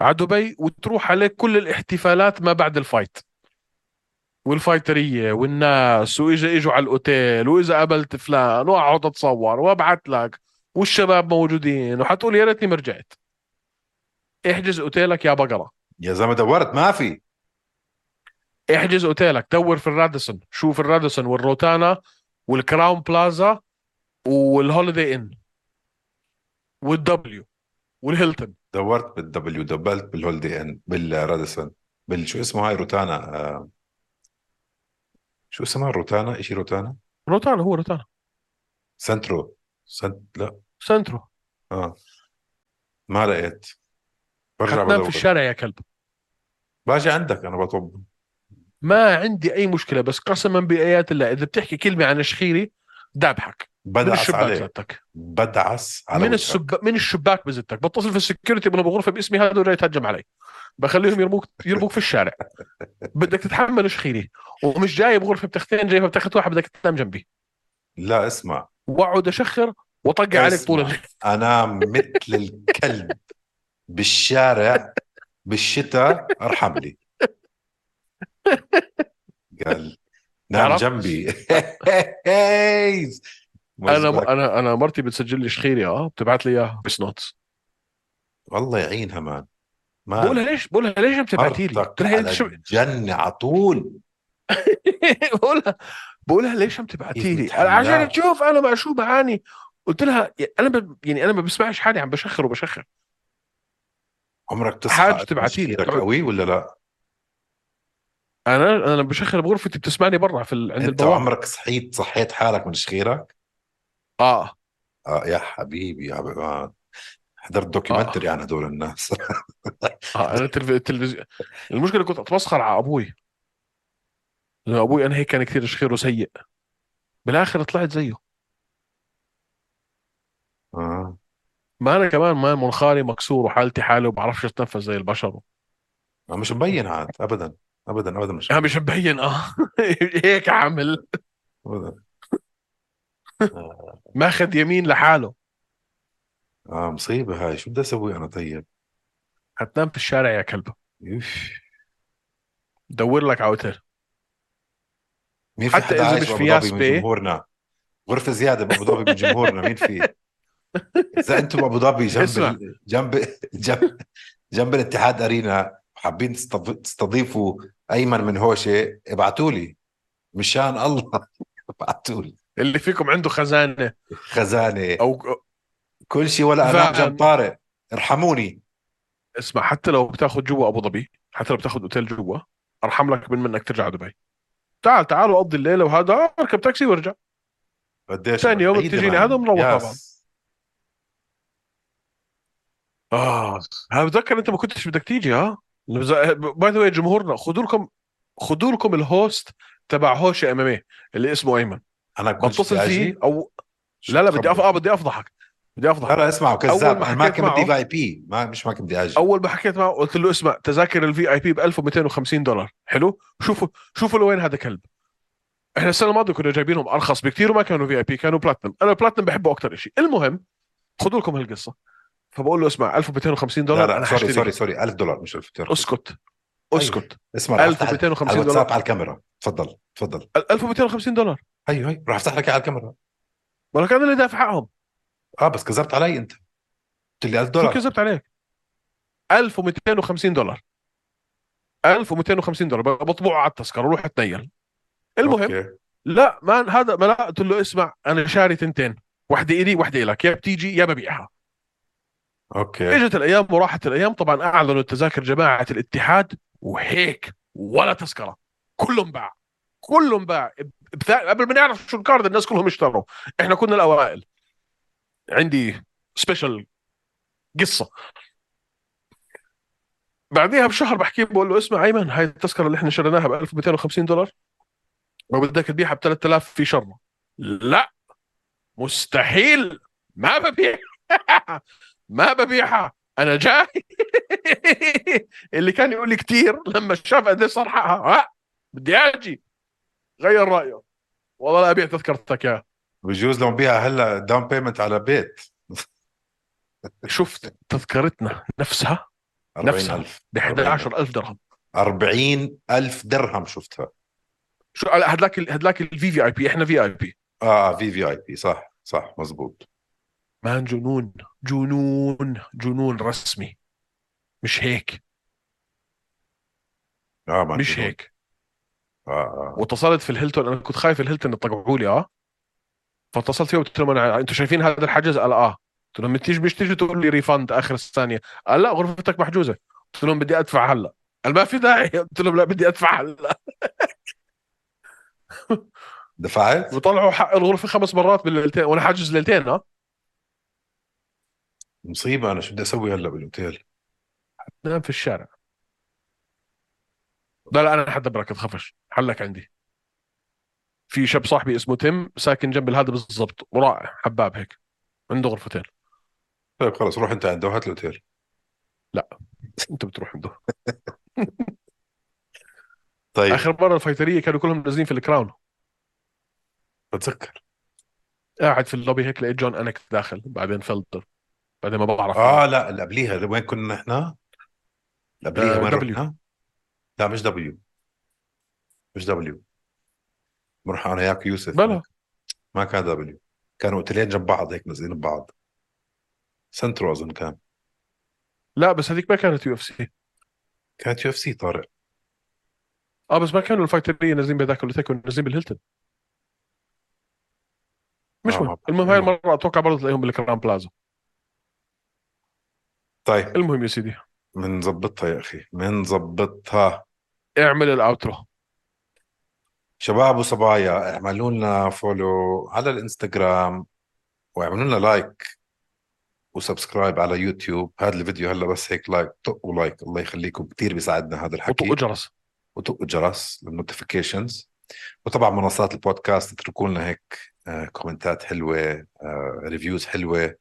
Speaker 2: على دبي وتروح عليك كل الاحتفالات ما بعد الفايت والفايتريه والناس واجا اجوا على الاوتيل واذا قابلت فلان واقعد اتصور وابعت لك والشباب موجودين وحتقول يا ريتني ما رجعت احجز اوتيلك يا بقره
Speaker 1: يا زلمه دورت ما في
Speaker 2: احجز اوتيلك دور في الراديسون شوف الراديسون والروتانا والكراون بلازا والهوليدي ان والدبليو والهيلتون
Speaker 1: دورت بالدبليو دبلت بالهولدي ان بالراديسون بال شو اسمه هاي روتانا آه. شو اسمها روتانا شيء روتانا
Speaker 2: روتانا هو روتانا
Speaker 1: سنترو سنت لا
Speaker 2: سنترو
Speaker 1: اه ما لقيت برجع
Speaker 2: حتنام في
Speaker 1: بدور
Speaker 2: الشارع يا كلب
Speaker 1: باجي عندك انا بطب
Speaker 2: ما عندي اي مشكله بس قسما بايات الله اذا بتحكي كلمه عن شخيري دابحك من
Speaker 1: بدعس
Speaker 2: الشباك
Speaker 1: عليه
Speaker 2: زتك
Speaker 1: بدعس على
Speaker 2: من
Speaker 1: وجهك.
Speaker 2: السب... من الشباك بزتك بتصل في السكيورتي من بغرفه باسمي هذا ولا يتهجم علي بخليهم يرموك يرموك في
Speaker 1: [laughs]
Speaker 2: الشارع بدك تتحمل شخيري ومش جايب غرفه بتختين جايبها بتاخذ واحد بدك تنام جنبي
Speaker 1: لا اسمع
Speaker 2: واقعد اشخر واطقع عليك طول
Speaker 1: اسمع.
Speaker 2: الليل
Speaker 1: انا مثل الكلب بالشارع بالشتاء ارحم لي قال نام
Speaker 2: عرفت؟
Speaker 1: جنبي [laughs] انا
Speaker 2: انا انا انا مرتي بتسجل لي شخيري اه بتبعت لي اياها بس نوتس
Speaker 1: والله يعينها مان
Speaker 2: بقولها
Speaker 1: مان
Speaker 2: ليش بقولها ليش بتبعتي لي
Speaker 1: مرتك
Speaker 2: بقولها
Speaker 1: على
Speaker 2: ليش
Speaker 1: الجنة على طول
Speaker 2: [laughs] بقولها بقولها ليش عم تبعتي
Speaker 1: كيف
Speaker 2: لي؟
Speaker 1: إيه، بتحملها؟
Speaker 2: عشان تشوف انا مع شو بعاني قلت لها انا ب... يعني انا ما بسمعش حالي عم بشخر وبشخر
Speaker 1: عمرك تصحى
Speaker 2: حاج تبعتيلي.
Speaker 1: تفكيرك
Speaker 2: تقعد.
Speaker 1: قوي ولا لا؟
Speaker 2: انا انا لما بشخر بغرفتي بتسمعني برا في ال... عند
Speaker 1: انت
Speaker 2: البوابه
Speaker 1: عمرك صحيت صحيت حالك من شخيرك؟
Speaker 2: اه
Speaker 1: اه يا حبيبي يا حبيبي آه. حضرت دوكيومنتري عن هدول الناس [laughs]
Speaker 2: اه انا التلف... التلفزيون المشكله كنت اتمسخر على ابوي لانه ابوي انا هيك كان كثير شخير وسيء بالاخر طلعت زيه
Speaker 1: آه.
Speaker 2: ما انا كمان ما منخاري مكسور وحالتي حاله وبعرفش اتنفس زي البشر
Speaker 1: ما مش مبين عاد ابدا ابدا ابدا مش
Speaker 2: آه، [laughs] مش مبين اه هيك عامل
Speaker 1: ابدا آه،
Speaker 2: ماخذ يمين لحاله
Speaker 1: اه مصيبه هاي شو بدي اسوي انا طيب
Speaker 2: حتنام في الشارع يا كلب
Speaker 1: يوف.
Speaker 2: دور لك على اوتيل
Speaker 1: مين في
Speaker 2: حتى
Speaker 1: حدا
Speaker 2: إذا
Speaker 1: عايش
Speaker 2: مش
Speaker 1: بأبو
Speaker 2: في
Speaker 1: ظبي
Speaker 2: ياس
Speaker 1: من
Speaker 2: بيه؟
Speaker 1: جمهورنا غرفة زيادة بأبو ظبي من جمهورنا مين في؟ إذا أنتم بأبو ظبي جنب
Speaker 2: اسمع.
Speaker 1: ال- جنب جنب جنب الاتحاد أرينا وحابين تستض- تستضيفوا أيمن من هوشة ابعتوا لي مشان الله [laughs] ابعتوا لي
Speaker 2: اللي فيكم عنده خزانه
Speaker 1: خزانة
Speaker 2: او
Speaker 1: كل شيء ولا أنا
Speaker 2: فعلاً.
Speaker 1: جنب طارق ارحموني
Speaker 2: اسمع حتى لو بتاخذ جوا ابو ظبي حتى لو بتاخذ اوتيل جوا ارحم لك من منك ترجع على دبي تعال تعال وقضي الليله وهذا آه، اركب تاكسي وارجع
Speaker 1: قديش
Speaker 2: ثاني يوم
Speaker 1: بعيدة
Speaker 2: بتجيني
Speaker 1: معنا.
Speaker 2: هذا ومروح مع
Speaker 1: ياس.
Speaker 2: بعض. اه انا بتذكر انت ما كنتش بدك تيجي آه؟ ها باي ذا واي جمهورنا خذوا لكم خذوا لكم الهوست تبع هوشه امامي إيه، اللي اسمه ايمن
Speaker 1: أنا كنت
Speaker 2: بتصل
Speaker 1: بدي أجي.
Speaker 2: فيه او
Speaker 1: شو
Speaker 2: لا لا بدي أف...
Speaker 1: بتخبط؟
Speaker 2: اه بدي افضحك بدي افضحك
Speaker 1: لا لا اسمعوا كذاب
Speaker 2: أول ما
Speaker 1: أنا ما
Speaker 2: حكيت
Speaker 1: كان بدي
Speaker 2: معه-
Speaker 1: في اي بي ما مش ما كان بدي أجي
Speaker 2: اول ما حكيت معه قلت له اسمع تذاكر الفي اي بي ب 1250 دولار حلو شوفوا شوفوا لوين هذا كلب احنا السنه الماضيه كنا جايبينهم ارخص بكثير وما كانوا في اي بي كانوا بلاتنم انا البلاتنم بحبه اكثر شيء المهم خذوا لكم هالقصه فبقول له اسمع 1250 دولار
Speaker 1: لا لا
Speaker 2: انا
Speaker 1: سوري
Speaker 2: هشتري.
Speaker 1: سوري طيب. سوري 1000 دولار مش 1000 دولار
Speaker 2: اسكت اسكت
Speaker 1: اسمع رح افتح
Speaker 2: 1250
Speaker 1: على الواتساب
Speaker 2: دولار
Speaker 1: على الكاميرا تفضل تفضل
Speaker 2: 1250 دولار
Speaker 1: ايوه
Speaker 2: أيوة.
Speaker 1: ايوه راح افتح لك إياه على الكاميرا
Speaker 2: ولك انا اللي دافع حقهم
Speaker 1: اه بس كذبت علي انت قلت لي 1000
Speaker 2: شو
Speaker 1: دولار
Speaker 2: كذبت عليك 1250 دولار 1250 دولار بطبعه على التذكره وروح اتنيل المهم
Speaker 1: أوكي.
Speaker 2: لا ما هذا ما لا قلت له اسمع انا شاري تنتين واحده الي واحده لك يا بتيجي يا ببيعها
Speaker 1: اوكي
Speaker 2: اجت الايام وراحت الايام طبعا اعلنوا التذاكر جماعه الاتحاد وهيك ولا تذكره كله انباع كله انباع بث- قبل ما نعرف شو الكارد الناس كلهم اشتروا احنا كنا الاوائل عندي سبيشال قصه بعديها بشهر بحكي بقول له اسمع ايمن هاي التذكره اللي احنا شريناها ب 1250 دولار وبدك تبيعها ب 3000 في شرمه لا مستحيل ما ببيع [laughs] ما ببيعها انا جاي [laughs] اللي كان يقول لي كثير لما شاف قد ايش صار حقها ها بدي اجي غير رايه والله لا ابيع تذكرتك يا
Speaker 1: بجوز لو بيها هلا داون بيمنت على بيت
Speaker 2: شفت تذكرتنا نفسها نفسها.
Speaker 1: 40000
Speaker 2: ب 11000 درهم
Speaker 1: 40000 درهم شفتها
Speaker 2: شو هلا هدلاك ال- هدلاك الفي في اي بي احنا في اي بي
Speaker 1: اه في في اي بي صح صح مزبوط
Speaker 2: مان جنون جنون جنون رسمي مش هيك
Speaker 1: اه ما
Speaker 2: مش
Speaker 1: في-
Speaker 2: هيك
Speaker 1: اه اه
Speaker 2: واتصلت في الهيلتون انا كنت خايف الهيلتون يطقعوا لي اه فاتصلت فيهم قلت لهم انا انتم شايفين هذا الحجز قال اه قلت لهم تيجي مش تيجي تقول لي ريفند اخر الثانيه قال لا غرفتك محجوزه قلت لهم بدي ادفع هلا قال ما في داعي [laughs] قلت لهم لا بدي ادفع هلا
Speaker 1: دفعت
Speaker 2: وطلعوا حق الغرفه خمس مرات بالليلتين وانا حاجز ليلتين اه
Speaker 1: مصيبه انا شو بدي اسوي هلا بالاوتيل
Speaker 2: نام في الشارع لا لا انا حدا بركض خفش حلك عندي في شاب صاحبي اسمه تيم ساكن جنب الهذا بالضبط ورائع حباب هيك عنده غرفتين [laughs]
Speaker 1: طيب خلص روح انت عنده هات الاوتيل
Speaker 2: انت بتروح عنده
Speaker 1: طيب
Speaker 2: اخر مره الفايتريه كانوا كلهم نازلين في الكراون
Speaker 1: بتذكر
Speaker 2: قاعد في اللوبي هيك لقيت جون انك داخل بعدين فلتر بعدين ما بعرف
Speaker 1: اه لا اللي قبليها وين كنا نحن؟ اللي قبليها
Speaker 2: آه،
Speaker 1: وين
Speaker 2: W.
Speaker 1: رحنا؟ لا مش دبليو مش دبليو بنروح انا وياك يوسف
Speaker 2: بلا
Speaker 1: ما كان دبليو كانوا اوتيلين جنب بعض هيك نازلين ببعض سنترو اظن كان
Speaker 2: لا بس هذيك ما كانت يو اف سي
Speaker 1: كانت يو اف سي طارق
Speaker 2: اه بس ما كانوا الفايتريه نازلين بهذاك اللي كانوا نازلين بالهيلتون مش
Speaker 1: آه،
Speaker 2: مهم
Speaker 1: ما-
Speaker 2: المهم هاي المره اتوقع برضه تلاقيهم بالكرام بلازا
Speaker 1: طيب
Speaker 2: المهم يا سيدي
Speaker 1: منظبطها يا اخي منظبطها
Speaker 2: اعمل الاوترو
Speaker 1: شباب وصبايا اعملوا لنا فولو على الانستغرام واعملوا لنا لايك وسبسكرايب على يوتيوب هذا الفيديو هلا بس هيك لايك طقوا لايك الله يخليكم كثير بيساعدنا هذا الحكي
Speaker 2: وطقوا جرس
Speaker 1: وتوقوا الجرس للنوتيفيكيشنز وطبعا منصات البودكاست اتركوا لنا هيك آه، كومنتات حلوه آه، ريفيوز حلوه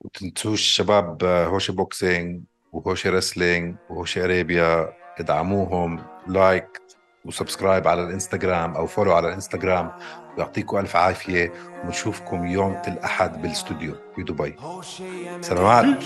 Speaker 1: وتنسوش شباب آه، هوشي بوكسينج وهوشي ريسلينج وهوشي اريبيا ادعموهم لايك وسبسكرايب على الانستغرام او فولو على الانستغرام ويعطيكم الف عافيه ونشوفكم يوم الاحد بالاستوديو بدبي سلامات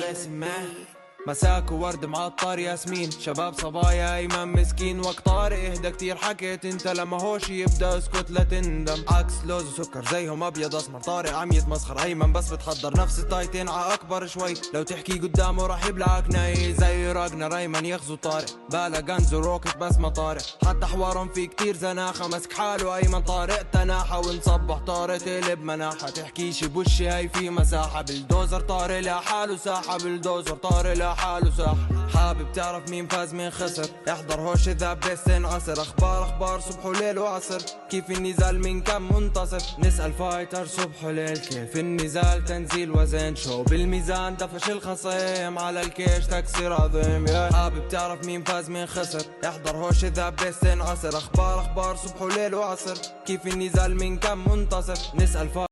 Speaker 3: مساك وورد معطر ياسمين شباب صبايا ايمن مسكين وقت طارق اهدى كتير حكيت انت لما هوش يبدا اسكت لا تندم عكس لوز وسكر زيهم ابيض اسمر طارق عم يتمسخر ايمن بس بتحضر نفس التايتين ع اكبر شوي لو تحكي قدامه راح يبلعك ناي زي راجنا ريمان يغزو طارق بالا غنز وروكت بس ما طارق حتى حوارهم في كتير زناخه مسك حاله ايمن طارق تناحه ونصبح طارق تقلب مناحه تحكيش بوشي هاي في مساحه بلدوزر طارق لحاله ساحه بلدوزر طارق لحاله ساحه حابب تعرف مين فاز مين خسر احضر هوش ذا بس انعصر اخبار اخبار صبح وليل وعصر كيف النزال من كم منتصف نسال فايتر صبح وليل كيف النزال تنزيل وزن شو بالميزان دفش الخصيم على الكيش تكسير عظيم يا حابب تعرف مين فاز مين خسر احضر هوش ذا بس انعصر اخبار اخبار صبح وليل وعصر كيف النزال من كم منتصف نسال فايتر